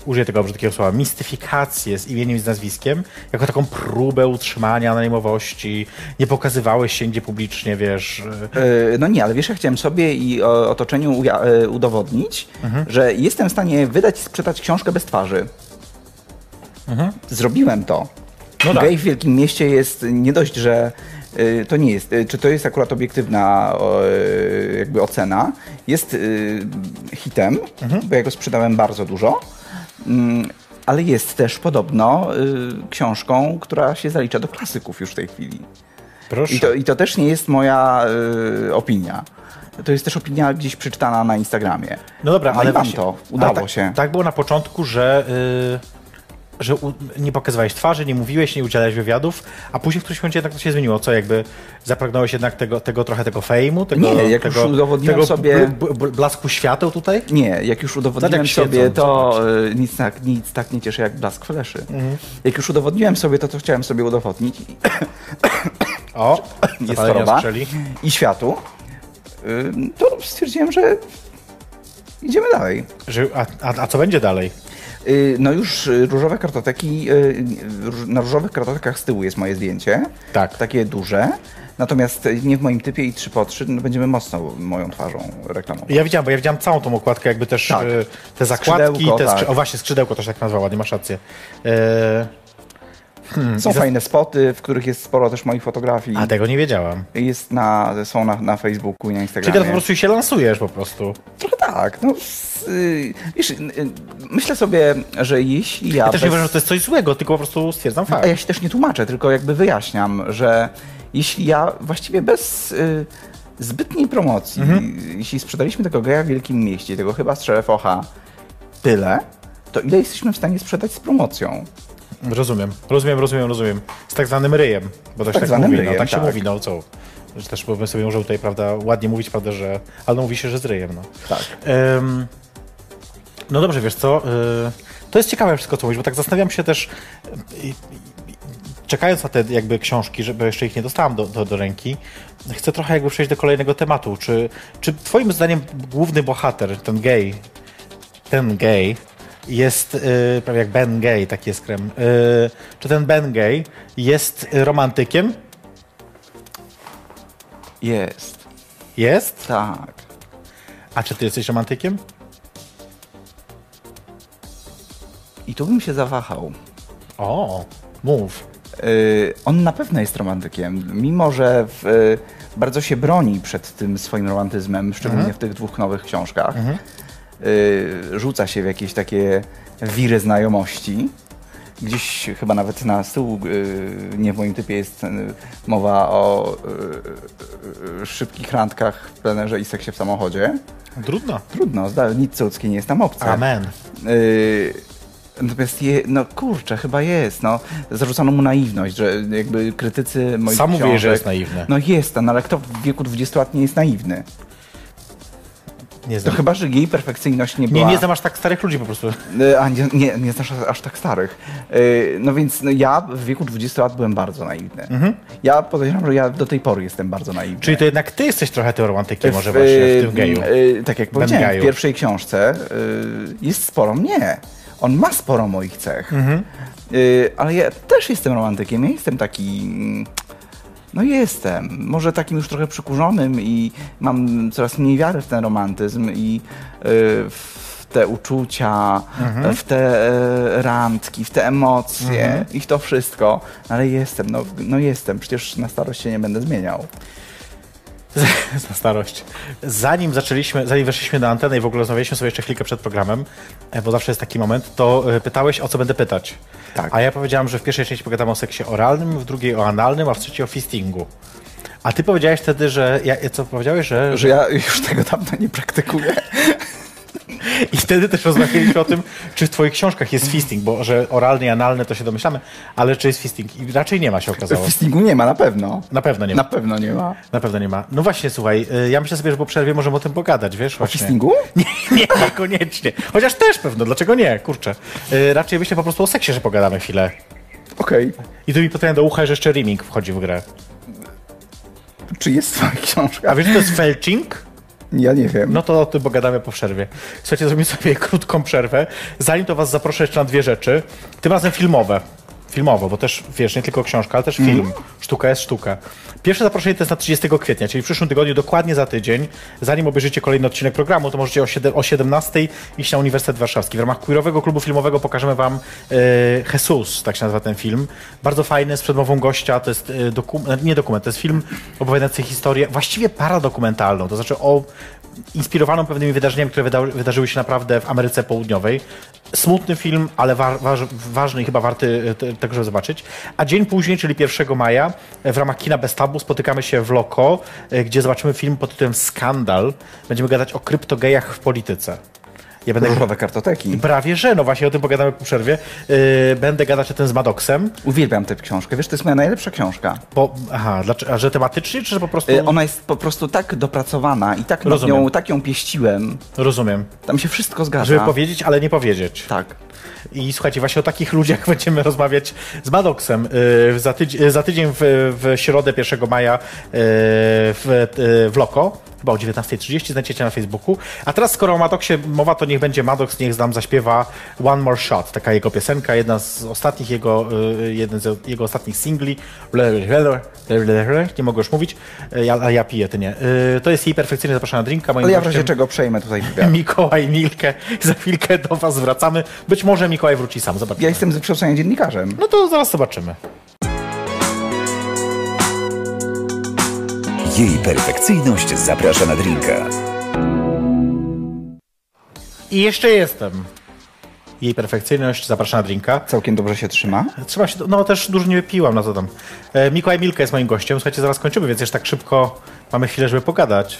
[SPEAKER 2] y, użyję tego brzydkiego słowa, mistyfikację z imieniem i z nazwiskiem, jako taką próbę utrzymania anonimowości. Nie pokazywałeś się nigdzie publicznie, wiesz. y,
[SPEAKER 3] Y, No nie, ale wiesz, ja chciałem sobie i o, otoczeniu uja- y, udowodnić,
[SPEAKER 2] Mhm.
[SPEAKER 3] że jestem w stanie wydać i sprzedać książkę bez twarzy. Zrobiłem to.
[SPEAKER 2] Mhm. No tak.
[SPEAKER 3] Gej w Wielkim Mieście jest nie dość, że y, to nie jest. y, Czy to jest akurat obiektywna o, y, jakby ocena? Jest y, hitem,
[SPEAKER 2] Mhm.
[SPEAKER 3] bo ja go sprzedałem bardzo dużo. Mm, Ale jest też podobno y, książką, która się zalicza do klasyków już w tej chwili.
[SPEAKER 2] Proszę.
[SPEAKER 3] I to, I to też nie jest moja y, opinia. To jest też opinia gdzieś przeczytana na Instagramie.
[SPEAKER 2] No dobra,
[SPEAKER 3] no
[SPEAKER 2] ale
[SPEAKER 3] i mam
[SPEAKER 2] właśnie-
[SPEAKER 3] to. Udało
[SPEAKER 2] ale tak,
[SPEAKER 3] się.
[SPEAKER 2] Tak było na początku, że, y, że u, nie pokazywałeś twarzy, nie mówiłeś, nie udzielałeś wywiadów, a później w którymś momencie jednak to się zmieniło. Co jakby zapragnąłeś jednak tego, tego trochę tego fejmu, tego,
[SPEAKER 3] Nie, jak już
[SPEAKER 2] tego,
[SPEAKER 3] udowodniłem
[SPEAKER 2] tego
[SPEAKER 3] sobie-
[SPEAKER 2] bl- bl- bl- blasku świateł tutaj?
[SPEAKER 3] Nie, jak już udowodniłem
[SPEAKER 2] Zobacz, jak
[SPEAKER 3] sobie
[SPEAKER 2] świecą,
[SPEAKER 3] to, y, nic, tak, nic tak nie cieszy jak blask fleszy.
[SPEAKER 2] Mhm.
[SPEAKER 3] Jak już udowodniłem sobie to, co chciałem sobie udowodnić i,
[SPEAKER 2] O,
[SPEAKER 3] jest
[SPEAKER 2] zapalenia
[SPEAKER 3] choroba
[SPEAKER 2] strzeli.
[SPEAKER 3] i światu, y, to stwierdziłem, że idziemy dalej.
[SPEAKER 2] Że, a, a, a co będzie dalej?
[SPEAKER 3] Y, No już y, różowe kartoteki, y, róż- na różowych kartotekach z tyłu jest moje zdjęcie.
[SPEAKER 2] Tak.
[SPEAKER 3] Takie duże. Natomiast y, nie w moim typie i 3 po 3 no będziemy mocno moją twarzą reklamować.
[SPEAKER 2] Ja widziałem, bo ja widziałem całą tą okładkę, jakby też
[SPEAKER 3] Tak.
[SPEAKER 2] y, te zakładki,
[SPEAKER 3] Skrzydełko,
[SPEAKER 2] te skrzy...
[SPEAKER 3] tak.
[SPEAKER 2] o właśnie, skrzydełko też tak nazwała, nie masz rację. Y,
[SPEAKER 3] Są fajne spoty, w których jest sporo też moich fotografii.
[SPEAKER 2] a tego nie wiedziałam.
[SPEAKER 3] Jest na, są na, na Facebooku i na
[SPEAKER 2] Czyli
[SPEAKER 3] Instagramie.
[SPEAKER 2] teraz po prostu się lansujesz po prostu.
[SPEAKER 3] Trochę tak. No, s- y, wiesz, y, y, myślę sobie, że jeśli ja...
[SPEAKER 2] Ja też nie
[SPEAKER 3] bez-
[SPEAKER 2] uważam, że to jest coś złego, tylko po prostu stwierdzam fakt.
[SPEAKER 3] A ja się też nie tłumaczę, tylko jakby wyjaśniam, że jeśli ja właściwie bez y, zbytniej promocji, jeśli sprzedaliśmy tego geja w Wielkim Mieście, tego chyba z Szerefocha, tyle, to ile jesteśmy w stanie sprzedać z promocją?
[SPEAKER 2] Rozumiem, rozumiem, rozumiem, rozumiem. Z tak zwanym ryjem, bo to się tak,
[SPEAKER 3] Tak zwanym
[SPEAKER 2] mówi, no,
[SPEAKER 3] ryjem,
[SPEAKER 2] tak się
[SPEAKER 3] tak.
[SPEAKER 2] mówi, no co. Że też bo my sobie możemy tutaj, prawda, ładnie mówić, prawda, że. Ale no mówi się, że z ryjem, no.
[SPEAKER 3] Tak.
[SPEAKER 2] Em, no dobrze, wiesz co? y, to jest ciekawe wszystko, co mówisz, bo tak zastanawiam się też, y, y, y, czekając na te jakby książki, żeby jeszcze ich nie dostałem do, do, do ręki, chcę trochę jakby przejść do kolejnego tematu. Czy, czy twoim zdaniem główny bohater, ten gej, ten gej jest, y, prawie jak Ben Gay, taki jest krem, y, czy ten Ben Gay jest y, romantykiem?
[SPEAKER 3] Jest.
[SPEAKER 2] Jest?
[SPEAKER 3] Tak.
[SPEAKER 2] A czy ty jesteś romantykiem?
[SPEAKER 3] I tu bym się zawahał.
[SPEAKER 2] O, mów.
[SPEAKER 3] Y, on na pewno jest romantykiem, mimo że w, y, bardzo się broni przed tym swoim romantyzmem, szczególnie w tych dwóch nowych książkach. Y, rzuca się w jakieś takie wiry znajomości. Gdzieś chyba nawet na stół, y, nie w moim typie, jest y, mowa o y, y, szybkich randkach w plenerze i seksie w samochodzie.
[SPEAKER 2] Trudno.
[SPEAKER 3] Trudno, zda- nic cudzkie nie jest nam obce.
[SPEAKER 2] Amen.
[SPEAKER 3] Yy, Natomiast, je, no kurczę, chyba jest. No, zarzucano mu naiwność, że jakby krytycy moich
[SPEAKER 2] Sam
[SPEAKER 3] książek...
[SPEAKER 2] mówiłeś, że jest naiwny.
[SPEAKER 3] No jest, no, ale kto w wieku 20 lat nie jest naiwny?
[SPEAKER 2] Nie
[SPEAKER 3] To
[SPEAKER 2] znam.
[SPEAKER 3] chyba, że jej perfekcyjność nie była...
[SPEAKER 2] Nie, nie znam aż tak starych ludzi po prostu.
[SPEAKER 3] Yy, A, nie, nie, nie znasz aż- aż tak starych. Yy, No więc no, ja w wieku 20 lat byłem bardzo naiwny. Ja podejrzewam, że ja do tej pory jestem bardzo naiwny.
[SPEAKER 2] Mhm. Czyli to jednak ty jesteś trochę tym romantykiem, może
[SPEAKER 3] W,
[SPEAKER 2] właśnie w
[SPEAKER 3] y,
[SPEAKER 2] tym geju.
[SPEAKER 3] y, Tak jak powiedziałem,
[SPEAKER 2] gaju.
[SPEAKER 3] w pierwszej książce y, jest sporo mnie. On ma sporo moich cech.
[SPEAKER 2] Mhm.
[SPEAKER 3] Y, Ale ja też jestem romantykiem. Ja jestem taki. mm, No jestem. Może takim już trochę przykurzonym i mam coraz mniej wiary w ten romantyzm i y, w te uczucia,
[SPEAKER 2] Mhm.
[SPEAKER 3] w te e, randki, w te emocje i w to wszystko. Ale jestem, no, no jestem. Przecież na starość się nie będę zmieniał.
[SPEAKER 2] Na starość. Zanim zaczęliśmy, zanim weszliśmy na antenę i w ogóle rozmawialiśmy sobie jeszcze chwilkę przed programem, e, bo zawsze jest taki moment, to e, pytałeś, o co będę pytać.
[SPEAKER 3] Tak.
[SPEAKER 2] A ja powiedziałam, że w pierwszej części pogadamy o seksie oralnym, w drugiej o analnym, a w trzeciej o fistingu. A ty powiedziałeś wtedy, że. Ja, e, co powiedziałeś, że.
[SPEAKER 3] że ja już tego dawno nie praktykuję.
[SPEAKER 2] I wtedy też rozmawialiśmy o tym, czy w twoich książkach jest fisting, bo że oralny i analny to się domyślamy, ale czy jest fisting? I raczej nie ma się okazało.
[SPEAKER 3] Fistingu nie ma, na pewno.
[SPEAKER 2] Na pewno nie ma.
[SPEAKER 3] Na pewno nie ma.
[SPEAKER 2] Na pewno nie ma. No właśnie, słuchaj, y, ja myślę sobie, że po przerwie możemy o tym pogadać, wiesz?
[SPEAKER 3] O
[SPEAKER 2] Właśnie.
[SPEAKER 3] fistingu?
[SPEAKER 2] Nie, nie, niekoniecznie. Chociaż też pewno, dlaczego nie? Kurczę. Y, Raczej myślę po prostu o seksie, że pogadamy chwilę.
[SPEAKER 3] Okej.
[SPEAKER 2] I tu mi pytanie do ucha, że jeszcze rimming wchodzi w grę.
[SPEAKER 3] Czy jest twoja
[SPEAKER 2] A
[SPEAKER 3] książka?
[SPEAKER 2] wiesz, co to jest felching?
[SPEAKER 3] Ja nie wiem.
[SPEAKER 2] No to o tym pogadamy po przerwie. Słuchajcie, zrobimy sobie krótką przerwę. Zanim to was zaproszę jeszcze na dwie rzeczy. Tym razem filmowe. Filmowo, bo też, wiesz, nie tylko książka, ale też film. Sztuka jest sztuka. Pierwsze zaproszenie to jest na 30 kwietnia, czyli w przyszłym tygodniu, dokładnie za tydzień. Zanim obejrzycie kolejny odcinek programu, to możecie o, 7, o 17 iść na Uniwersytet Warszawski. W ramach Queerowego Klubu Filmowego pokażemy wam e, Jesus, tak się nazywa ten film. Bardzo fajny, z przedmową gościa. To jest e, dokument, nie dokument, to jest film opowiadający historię, właściwie paradokumentalną, to znaczy o inspirowaną pewnymi wydarzeniami, które wyda wydarzyły się naprawdę w Ameryce Południowej. Smutny film, ale wa waż ważny i chyba warty e, te- tego, żeby zobaczyć. A dzień później, czyli 1 maja, e, w ramach Kina Bez Tabu spotykamy się w Loco, e, gdzie zobaczymy film pod tytułem Skandal. Będziemy gadać o kryptogejach w polityce. Ja będę...
[SPEAKER 3] Różowe kartoteki.
[SPEAKER 2] Prawie że, no właśnie o tym pogadamy po przerwie. E, będę gadać o tym z Maddoxem,
[SPEAKER 3] Uwielbiam tę książkę. Wiesz, to jest moja najlepsza książka.
[SPEAKER 2] bo... Aha, dlaczego, a że tematycznie, czy że po prostu...
[SPEAKER 3] Y, Ona jest po prostu tak dopracowana i tak, nad
[SPEAKER 2] Rozumiem.
[SPEAKER 3] nią, tak ją pieściłem.
[SPEAKER 2] Rozumiem.
[SPEAKER 3] Tam się wszystko zgadza.
[SPEAKER 2] Żeby powiedzieć, ale nie powiedzieć.
[SPEAKER 3] Tak.
[SPEAKER 2] I słuchajcie, właśnie o takich ludziach będziemy rozmawiać z Maddoxem y, za, tydzi- y, za tydzień w, w środę 1 maja y, w, y, w Loko, chyba o 19.30, znajdziecie na Facebooku. A teraz, skoro o Maddoxie mowa, to niech będzie Maddox, niech nam zaśpiewa One More Shot, taka jego piosenka, jedna z ostatnich jego, y, jeden z jego ostatnich singli. Nie mogę już mówić, y, ja, a ja piję, ty nie. Y, To jest jej perfekcyjnie zapraszana drinka. Moim
[SPEAKER 3] Ale ja w razie
[SPEAKER 2] gościem-
[SPEAKER 3] czego przejmę tutaj wywiad.
[SPEAKER 2] Mikołaj Milkę. Za chwilkę do Was wracamy. Być może Mikołaj wróci sam, zobaczymy.
[SPEAKER 3] Ja jestem z wykształcenia dziennikarzem.
[SPEAKER 2] No to zaraz zobaczymy.
[SPEAKER 1] Jej perfekcyjność zaprasza na drinka.
[SPEAKER 2] I jeszcze jestem. Jej perfekcyjność zaprasza na drinka.
[SPEAKER 3] Całkiem dobrze się trzyma.
[SPEAKER 2] Trzeba się, no też dużo nie wypiłam, no co tam. E, Mikołaj Milka jest moim gościem. Słuchajcie, zaraz kończymy, więc jeszcze tak szybko mamy chwilę, żeby pogadać.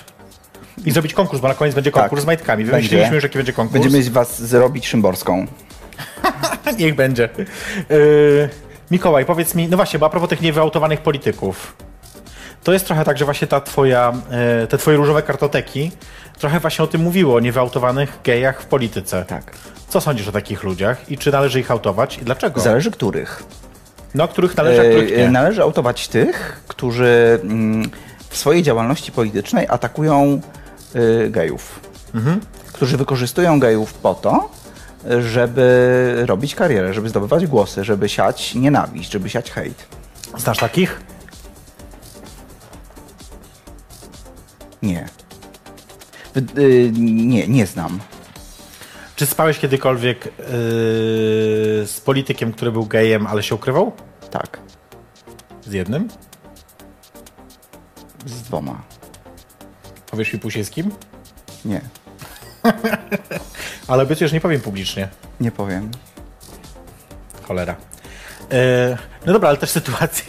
[SPEAKER 2] I zrobić konkurs, bo na koniec będzie konkurs
[SPEAKER 3] Tak.
[SPEAKER 2] z majtkami.
[SPEAKER 3] Będzie.
[SPEAKER 2] Wymyśliliśmy już, jaki będzie konkurs.
[SPEAKER 3] Będziemy was zrobić Szymborską.
[SPEAKER 2] Niech będzie. E, Mikołaj, powiedz mi, no właśnie, bo a propos tych niewyautowanych polityków. to jest trochę tak, że właśnie ta twoja, e, te twoje różowe kartoteki trochę właśnie o tym mówiło, o niewyautowanych gejach w polityce.
[SPEAKER 3] Tak.
[SPEAKER 2] Co sądzisz o takich ludziach i czy należy ich autować i dlaczego?
[SPEAKER 3] Zależy których.
[SPEAKER 2] No, których należy, a których
[SPEAKER 3] E,
[SPEAKER 2] nie.
[SPEAKER 3] Należy autować tych, którzy mm, w swojej działalności politycznej atakują y, gejów.
[SPEAKER 2] Mhm.
[SPEAKER 3] Którzy wykorzystują gejów po to, y, żeby robić karierę, żeby zdobywać głosy, żeby siać nienawiść, żeby siać hejt.
[SPEAKER 2] Znasz takich?
[SPEAKER 3] Nie. Wy- y, nie, nie znam.
[SPEAKER 2] Czy spałeś kiedykolwiek yy, z politykiem, który był gejem, ale się ukrywał?
[SPEAKER 3] Tak,
[SPEAKER 2] Z jednym?
[SPEAKER 3] z dwoma.
[SPEAKER 2] Powiesz mi później z kim?
[SPEAKER 3] Nie,
[SPEAKER 2] Ale przecież nie powiem publicznie.
[SPEAKER 3] nie powiem.
[SPEAKER 2] Cholera. E, no dobra, ale też sytuacja.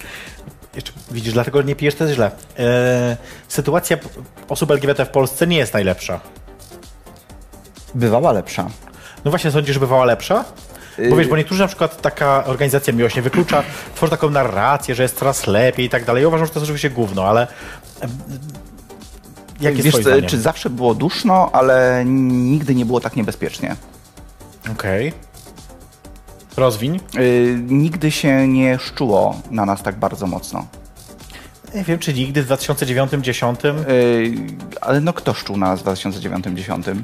[SPEAKER 2] Jeszcze, widzisz, dlatego nie pijesz, to jest źle. E, sytuacja p- osób LGBT w Polsce nie jest najlepsza.
[SPEAKER 3] Bywała lepsza.
[SPEAKER 2] No właśnie, sądzisz, że bywała lepsza? Bo
[SPEAKER 3] Y-
[SPEAKER 2] wiesz, bo niektórzy na przykład taka organizacja miłośnie wyklucza, tworzy taką narrację, że jest coraz lepiej i tak dalej. Ja uważam, że to jest oczywiście gówno, ale... em, Jakie jest
[SPEAKER 3] Wiesz,
[SPEAKER 2] twoje
[SPEAKER 3] co,
[SPEAKER 2] zdanie?
[SPEAKER 3] czy zawsze było duszno, ale nigdy nie było tak niebezpiecznie.
[SPEAKER 2] Okej. Rozwiń.
[SPEAKER 3] Y, nigdy się nie szczuło na nas tak bardzo mocno.
[SPEAKER 2] Nie wiem, czy nigdy w 2009-2010
[SPEAKER 3] Y, ale no kto szczuł na nas w 2009-10?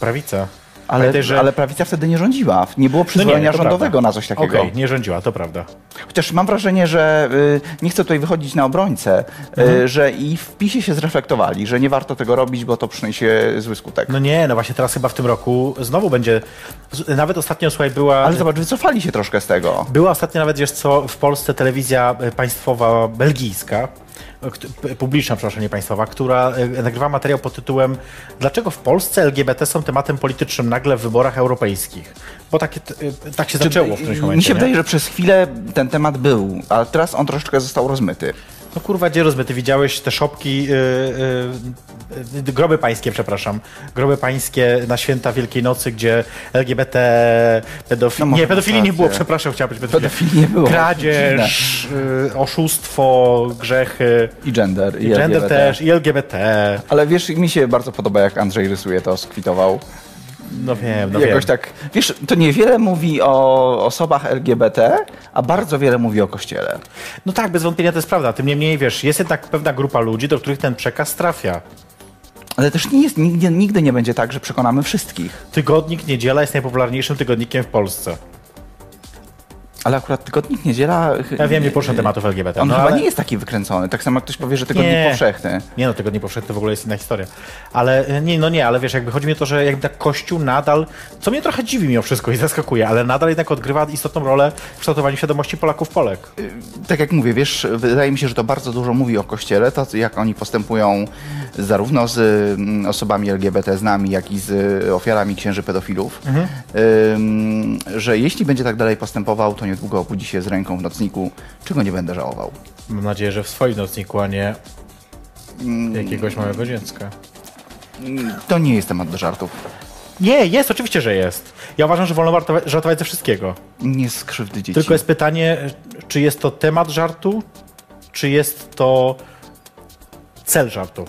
[SPEAKER 2] prawica.
[SPEAKER 3] Ale,
[SPEAKER 2] Pamiętaj, że-
[SPEAKER 3] ale prawica wtedy nie rządziła. Nie było
[SPEAKER 2] No nie,
[SPEAKER 3] przyzwolenia
[SPEAKER 2] to
[SPEAKER 3] rządowego
[SPEAKER 2] prawda.
[SPEAKER 3] na coś takiego.
[SPEAKER 2] Okej, nie rządziła, to prawda.
[SPEAKER 3] Chociaż mam wrażenie, że y, nie chcę tutaj wychodzić na obrońcę, y,
[SPEAKER 2] Mhm.
[SPEAKER 3] że i w PiSie się zreflektowali, że nie warto tego robić, bo to przyniesie zły skutek.
[SPEAKER 2] No nie, no właśnie teraz chyba w tym roku znowu będzie. z- Nawet ostatnio słuchaj, była.
[SPEAKER 3] Ale zobacz, wycofali się troszkę z tego.
[SPEAKER 2] Była ostatnio nawet wiesz co, w Polsce telewizja e, państwowa belgijska. e, kt- p- Publiczna, przepraszam, nie państwowa, która e, nagrywała materiał pod tytułem Dlaczego w Polsce LGBT są tematem politycznym nagle w wyborach europejskich? Bo takie, t- e, tak się zaczęło w którymś momencie.
[SPEAKER 3] Mi się
[SPEAKER 2] nie?
[SPEAKER 3] wydaje, że przez chwilę ten temat był, a teraz on troszeczkę został rozmyty.
[SPEAKER 2] No kurwa, gdzie rozby? Ty widziałeś te szopki, yy, yy, yy, groby pańskie, przepraszam, groby pańskie na święta Wielkiej Nocy, gdzie LGBT, pedofili...
[SPEAKER 3] No może
[SPEAKER 2] nie, pedofili
[SPEAKER 3] masz
[SPEAKER 2] nie było,
[SPEAKER 3] rację.
[SPEAKER 2] przepraszam, chciałem być pedofili.
[SPEAKER 3] Pedofili nie było.
[SPEAKER 2] Kradzież, yy, oszustwo, grzechy,
[SPEAKER 3] I gender, i,
[SPEAKER 2] i gender
[SPEAKER 3] LGBT.
[SPEAKER 2] też, i LGBT.
[SPEAKER 3] Ale wiesz, mi się bardzo podoba, jak Andrzej rysuje to, skwitował.
[SPEAKER 2] No wiem, no
[SPEAKER 3] Jakoś
[SPEAKER 2] wiem.
[SPEAKER 3] tak, wiesz, to niewiele mówi o osobach LGBT, a bardzo wiele mówi o Kościele.
[SPEAKER 2] No tak, bez wątpienia to jest prawda. Tym niemniej, wiesz, jest jednak pewna grupa ludzi, do których ten przekaz trafia.
[SPEAKER 3] Ale też nie jest, nigdy, nigdy nie będzie tak, że przekonamy wszystkich.
[SPEAKER 2] Tygodnik Niedziela jest najpopularniejszym tygodnikiem w Polsce.
[SPEAKER 3] Ale akurat Tygodnik Niedziela...
[SPEAKER 2] Ja wiem, nie poruszam tematów LGBT.
[SPEAKER 3] Y, On
[SPEAKER 2] no,
[SPEAKER 3] chyba
[SPEAKER 2] ale...
[SPEAKER 3] nie jest taki wykręcony, tak samo jak ktoś powie, że Tygodnik Powszechny.
[SPEAKER 2] Nie no, tego nie powszechny to w ogóle jest inna historia. Ale e, nie, no nie, ale wiesz, jakby chodzi mi o to, że jakby tak Kościół nadal, co mnie trochę dziwi mimo wszystko i zaskakuje, ale nadal jednak odgrywa istotną rolę w kształtowaniu świadomości Polaków Polek.
[SPEAKER 3] tak jak mówię, wiesz, wydaje mi się, że to bardzo dużo mówi o Kościele, to jak oni postępują zarówno z mm, osobami LGBT z nami, jak i z y, ofiarami księży pedofilów,
[SPEAKER 2] Mhm.
[SPEAKER 3] Ym, że jeśli będzie tak dalej postępował, to niedługo obudzi się z ręką w nocniku, czego nie będę żałował.
[SPEAKER 2] Mam nadzieję, że w swoim nocniku, a nie jakiegoś małego dziecka.
[SPEAKER 3] To nie jest temat do żartów.
[SPEAKER 2] Nie, jest, oczywiście, że jest. Ja uważam, że wolno warto- żartować ze wszystkiego.
[SPEAKER 3] Nie skrzywdy dzieci.
[SPEAKER 2] Tylko jest pytanie, czy jest to temat żartu, czy jest to cel żartu.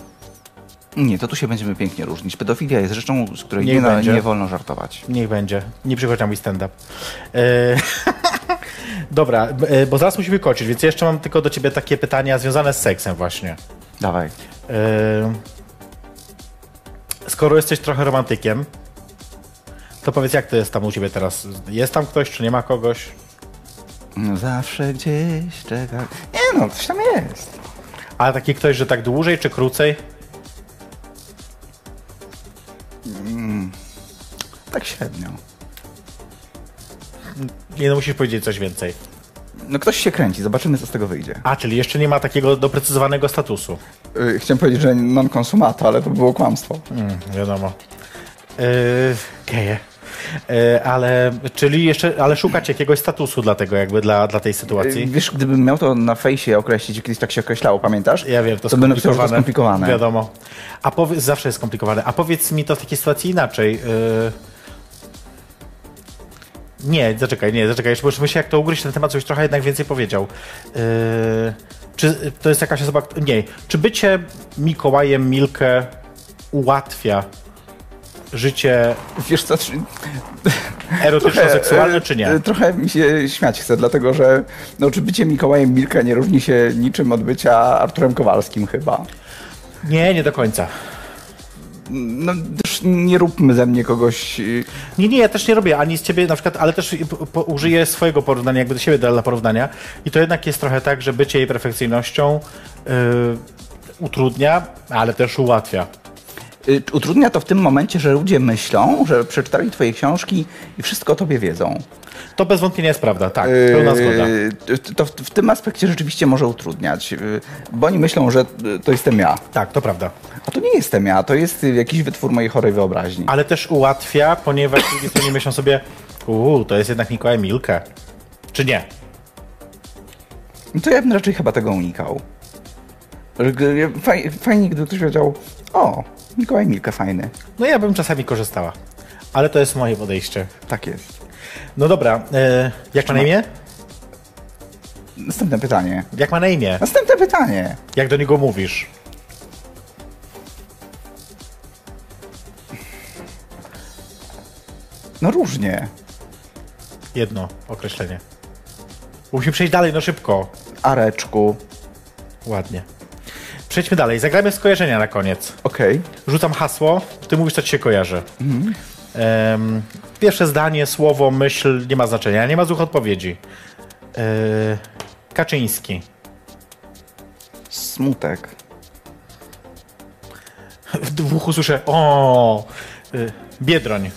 [SPEAKER 3] Nie, to tu się będziemy pięknie różnić. Pedofilia jest rzeczą, z której
[SPEAKER 2] Niech
[SPEAKER 3] nie, na-
[SPEAKER 2] będzie.
[SPEAKER 3] nie wolno żartować.
[SPEAKER 2] Niech będzie. Nie przychodź na mój stand-up. E, Dobra, b- e, bo zaraz musimy kończyć, więc jeszcze mam tylko do ciebie takie pytania związane z seksem właśnie.
[SPEAKER 3] Dawaj.
[SPEAKER 2] E, Skoro jesteś trochę romantykiem, to powiedz, jak to jest tam u ciebie teraz? Jest tam ktoś, czy nie ma kogoś?
[SPEAKER 3] Zawsze gdzieś czeka... Nie no, coś tam jest.
[SPEAKER 2] Ale taki ktoś, że tak dłużej czy krócej?
[SPEAKER 3] Tak średnio.
[SPEAKER 2] Nie, no musisz powiedzieć coś więcej.
[SPEAKER 3] No ktoś się kręci, zobaczymy co z tego wyjdzie.
[SPEAKER 2] A, czyli jeszcze nie ma takiego doprecyzowanego statusu.
[SPEAKER 3] Y, Chciałem powiedzieć, że non-konsumata, ale to było kłamstwo.
[SPEAKER 2] Mm, wiadomo. Yy, geje. Yy, ale, czyli jeszcze, ale szukacie jakiegoś statusu dla tego, jakby dla, dla tej
[SPEAKER 3] Y,
[SPEAKER 2] sytuacji?
[SPEAKER 3] Wiesz, gdybym miał to na fejsie określić, kiedyś tak się określało, pamiętasz?
[SPEAKER 2] Ja wiem, to,
[SPEAKER 3] to bym napisał, że to skomplikowane.
[SPEAKER 2] Wiadomo. A powie, zawsze jest skomplikowane. A powiedz mi to w takiej sytuacji inaczej. Yy... Nie, zaczekaj, nie, zaczekaj. Jeszcze muszę myśleć, jak to ugryźć ten temat, żebyś trochę jednak więcej powiedział. Yy... Czy to jest jakaś osoba. kt- Nie. Czy bycie Mikołajem Milkę ułatwia życie
[SPEAKER 3] Wiesz co, czy-
[SPEAKER 2] erotyczno-seksualne,
[SPEAKER 3] e,
[SPEAKER 2] czy nie?
[SPEAKER 3] e, Trochę mi się śmiać chce, dlatego że no, czy bycie Mikołajem Milka nie różni się niczym od bycia Arturem Kowalskim chyba.
[SPEAKER 2] Nie, nie do końca.
[SPEAKER 3] No też nie róbmy ze mnie kogoś... y,
[SPEAKER 2] Nie, nie, ja też nie robię ani z ciebie na przykład, ale też po- po, użyję swojego porównania, jakby do siebie dla porównania. I to jednak jest trochę tak, że bycie jej perfekcyjnością yy, utrudnia, ale też ułatwia.
[SPEAKER 3] y, Utrudnia to w tym momencie, że ludzie myślą, że przeczytali twoje książki i wszystko o tobie wiedzą.
[SPEAKER 2] To bez wątpienia jest prawda, tak, pełna zgoda.
[SPEAKER 3] Yy, t- To w, w tym aspekcie rzeczywiście może utrudniać, yy, bo oni myślą, że y, to jestem ja.
[SPEAKER 2] Tak, to prawda.
[SPEAKER 3] A to nie jestem ja, to jest y, jakiś wytwór mojej chorej wyobraźni.
[SPEAKER 2] Ale też ułatwia, ponieważ z drugiej strony myślą sobie, uuu, to jest jednak Mikołaj Milka. Czy nie?
[SPEAKER 3] No To ja bym raczej chyba tego unikał. Że g- Faj, fajnie, gdyby ktoś powiedział, o, Mikołaj Milka fajny.
[SPEAKER 2] No ja bym czasami korzystała. Ale to jest moje podejście.
[SPEAKER 3] Tak jest.
[SPEAKER 2] No dobra, yy, jak ma na imię?
[SPEAKER 3] Następne pytanie.
[SPEAKER 2] Jak ma na imię?
[SPEAKER 3] Następne pytanie.
[SPEAKER 2] Jak do niego mówisz?
[SPEAKER 3] No różnie.
[SPEAKER 2] Jedno określenie. Musimy przejść dalej, no szybko.
[SPEAKER 3] Areczku.
[SPEAKER 2] Ładnie. Przejdźmy dalej. Zagrajmy skojarzenia na koniec.
[SPEAKER 3] Okej.
[SPEAKER 2] Rzucam hasło, ty mówisz, co ci się kojarzy. Em, pierwsze zdanie, słowo, myśl nie ma znaczenia, nie ma złych odpowiedzi. E, Kaczyński.
[SPEAKER 3] Smutek.
[SPEAKER 2] W dwóch usłyszę o. y, Biedroń.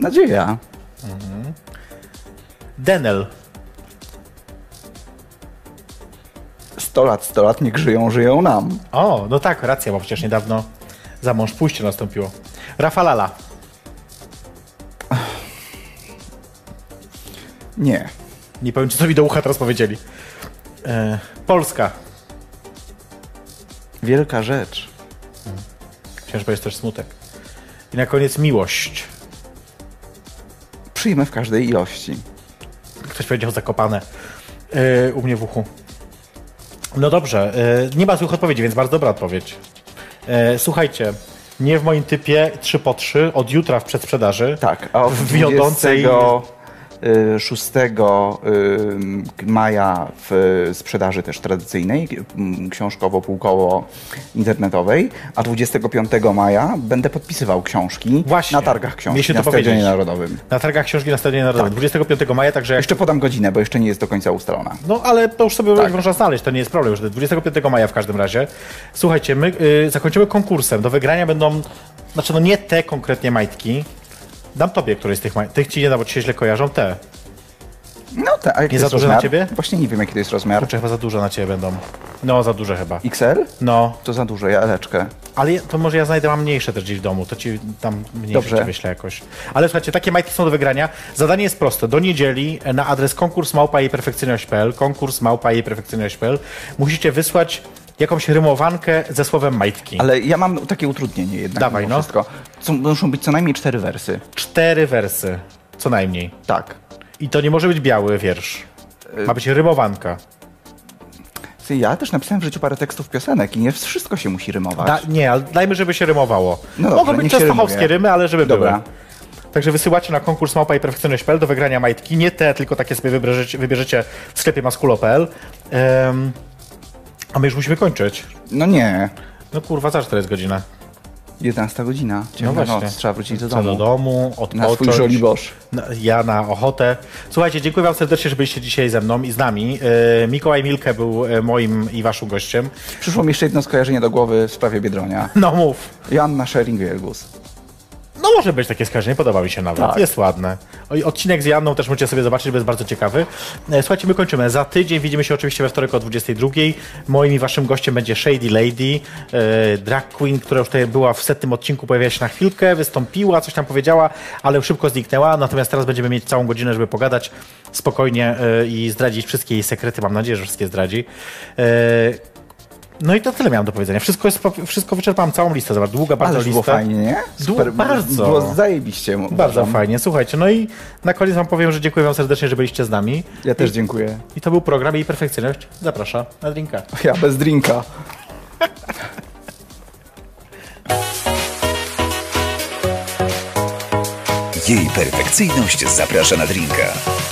[SPEAKER 3] Nadzieja.
[SPEAKER 2] Denel.
[SPEAKER 3] 100 lat, 100 lat, niech żyją, żyją nam.
[SPEAKER 2] O, no tak, racja, bo przecież niedawno za mąż pójście nastąpiło. Rafalala.
[SPEAKER 3] Nie.
[SPEAKER 2] Nie powiem, czy co mi do ucha teraz powiedzieli. E, Polska.
[SPEAKER 3] Wielka rzecz.
[SPEAKER 2] Chciałem powiedzieć też smutek. I na koniec miłość.
[SPEAKER 3] Przyjmę w każdej ilości.
[SPEAKER 2] Ktoś powiedział zakopane e, u mnie w uchu. No dobrze, e, nie ma złych odpowiedzi, więc bardzo dobra odpowiedź. E, słuchajcie, nie w moim typie 3 po 3 od jutra w przedsprzedaży.
[SPEAKER 3] Tak, a od
[SPEAKER 2] W wiodącej-
[SPEAKER 3] 6 e, maja w sprzedaży też tradycyjnej, mm, książkowo-półkowo-internetowej, a 25 maja będę podpisywał książki
[SPEAKER 2] Właśnie.
[SPEAKER 3] na targach książki
[SPEAKER 2] Mieliście
[SPEAKER 3] na
[SPEAKER 2] to
[SPEAKER 3] Stadionie
[SPEAKER 2] powiedzieć.
[SPEAKER 3] Narodowym.
[SPEAKER 2] Na targach książki na Stadionie Narodowym 25 maja, także jak
[SPEAKER 3] Jeszcze podam godzinę, bo jeszcze nie jest do końca ustalona.
[SPEAKER 2] No, ale to już sobie
[SPEAKER 3] Tak.
[SPEAKER 2] można znaleźć, to nie jest problem. Już 25 maja w każdym razie. Słuchajcie, my y, zakończymy konkursem. Do wygrania będą, znaczy no nie te konkretnie majtki. Dam tobie któreś z tych majtek. Tych ci nie da, bo ci się źle kojarzą. Te.
[SPEAKER 3] No tak, a jaki
[SPEAKER 2] Nie
[SPEAKER 3] jest
[SPEAKER 2] za duże na
[SPEAKER 3] rozmiar?
[SPEAKER 2] ciebie?
[SPEAKER 3] Właśnie nie wiem, jaki to jest rozmiar.
[SPEAKER 2] Kurczę, chyba za duże na ciebie będą. No, za duże chyba.
[SPEAKER 3] XL?
[SPEAKER 2] No,
[SPEAKER 3] To za duże, ja leczkę.
[SPEAKER 2] ale ja- to może ja znajdę, mam mniejsze też gdzieś w domu, to ci tam mniejsze
[SPEAKER 3] Dobrze.
[SPEAKER 2] ci wyślę jakoś. Ale słuchajcie, takie majtki są do wygrania. Zadanie jest proste. Do niedzieli na adres konkurs małpa jej perfekcyjność.pl konkurs małpa jej perfekcyjność.pl musicie wysłać jakąś rymowankę ze słowem majtki.
[SPEAKER 3] Ale ja mam takie utrudnienie jednak.
[SPEAKER 2] Dawaj,
[SPEAKER 3] mimo
[SPEAKER 2] no.
[SPEAKER 3] Wszystko. Co, muszą być co najmniej cztery wersy.
[SPEAKER 2] cztery wersy, co najmniej.
[SPEAKER 3] Tak.
[SPEAKER 2] I to nie może być biały wiersz. Ma być rymowanka.
[SPEAKER 3] Ty, Ja też napisałem w życiu parę tekstów piosenek i nie wszystko się musi rymować.
[SPEAKER 2] Da, nie, ale dajmy, żeby się rymowało.
[SPEAKER 3] No dobrze,
[SPEAKER 2] Mogą być
[SPEAKER 3] niech się
[SPEAKER 2] częstochowskie
[SPEAKER 3] rymuje.
[SPEAKER 2] rymy, ale żeby
[SPEAKER 3] Dobra.
[SPEAKER 2] były. Także wysyłacie na konkurs małpa i perfekcyjność.pl do wygrania majtki. Nie te, tylko takie sobie wybierzecie, wybierzecie w sklepie maskulo.pl. Em, a my już musimy kończyć.
[SPEAKER 3] No nie.
[SPEAKER 2] No kurwa, zaraz to jest godzina.
[SPEAKER 3] 11 godzina.
[SPEAKER 2] No
[SPEAKER 3] Ciemna noc. Trzeba wrócić do domu.
[SPEAKER 2] do domu,
[SPEAKER 3] Na swój
[SPEAKER 2] odpocząć.
[SPEAKER 3] żoliborz.
[SPEAKER 2] Na- Ja na ochotę. Słuchajcie, dziękuję Wam serdecznie, że byliście dzisiaj ze mną i z nami. E, Mikołaj Milke był e, moim i Waszym gościem.
[SPEAKER 3] Przyszło mi jeszcze jedno skojarzenie do głowy w sprawie Biedronia.
[SPEAKER 2] No mów.
[SPEAKER 3] Joanna Schering-Wielgus.
[SPEAKER 2] No może być takie skarżenie, podoba mi się nawet.
[SPEAKER 3] Tak.
[SPEAKER 2] Jest ładne. O, i Odcinek z Janną też możecie sobie zobaczyć, bo jest bardzo ciekawy. E, Słuchajcie, my kończymy. Za tydzień widzimy się oczywiście we wtorek o 22. Moim i Waszym gościem będzie Shady Lady, e, drag queen, która już tutaj była w setnym odcinku, pojawiła się na chwilkę, wystąpiła, coś tam powiedziała, ale szybko zniknęła. Natomiast teraz będziemy mieć całą godzinę, żeby pogadać spokojnie e, i zdradzić wszystkie jej sekrety. Mam nadzieję, że wszystkie zdradzi. E, No i to tyle miałem do powiedzenia. Wszystko, jest, po- wszystko wyczerpałem, całą listę. Zobacz, długa bardzo
[SPEAKER 3] Ale było
[SPEAKER 2] lista.
[SPEAKER 3] fajnie, nie?
[SPEAKER 2] bardzo.
[SPEAKER 3] Było zajebiście.
[SPEAKER 2] Bardzo
[SPEAKER 3] uważam.
[SPEAKER 2] fajnie. Słuchajcie, no i na koniec wam powiem, że dziękuję wam serdecznie, że byliście z nami.
[SPEAKER 3] Ja też dziękuję.
[SPEAKER 2] I to był program Jej Perfekcyjność. Zapraszam na drinka.
[SPEAKER 3] Ja bez drinka.
[SPEAKER 1] Jej perfekcyjność zaprasza na drinka.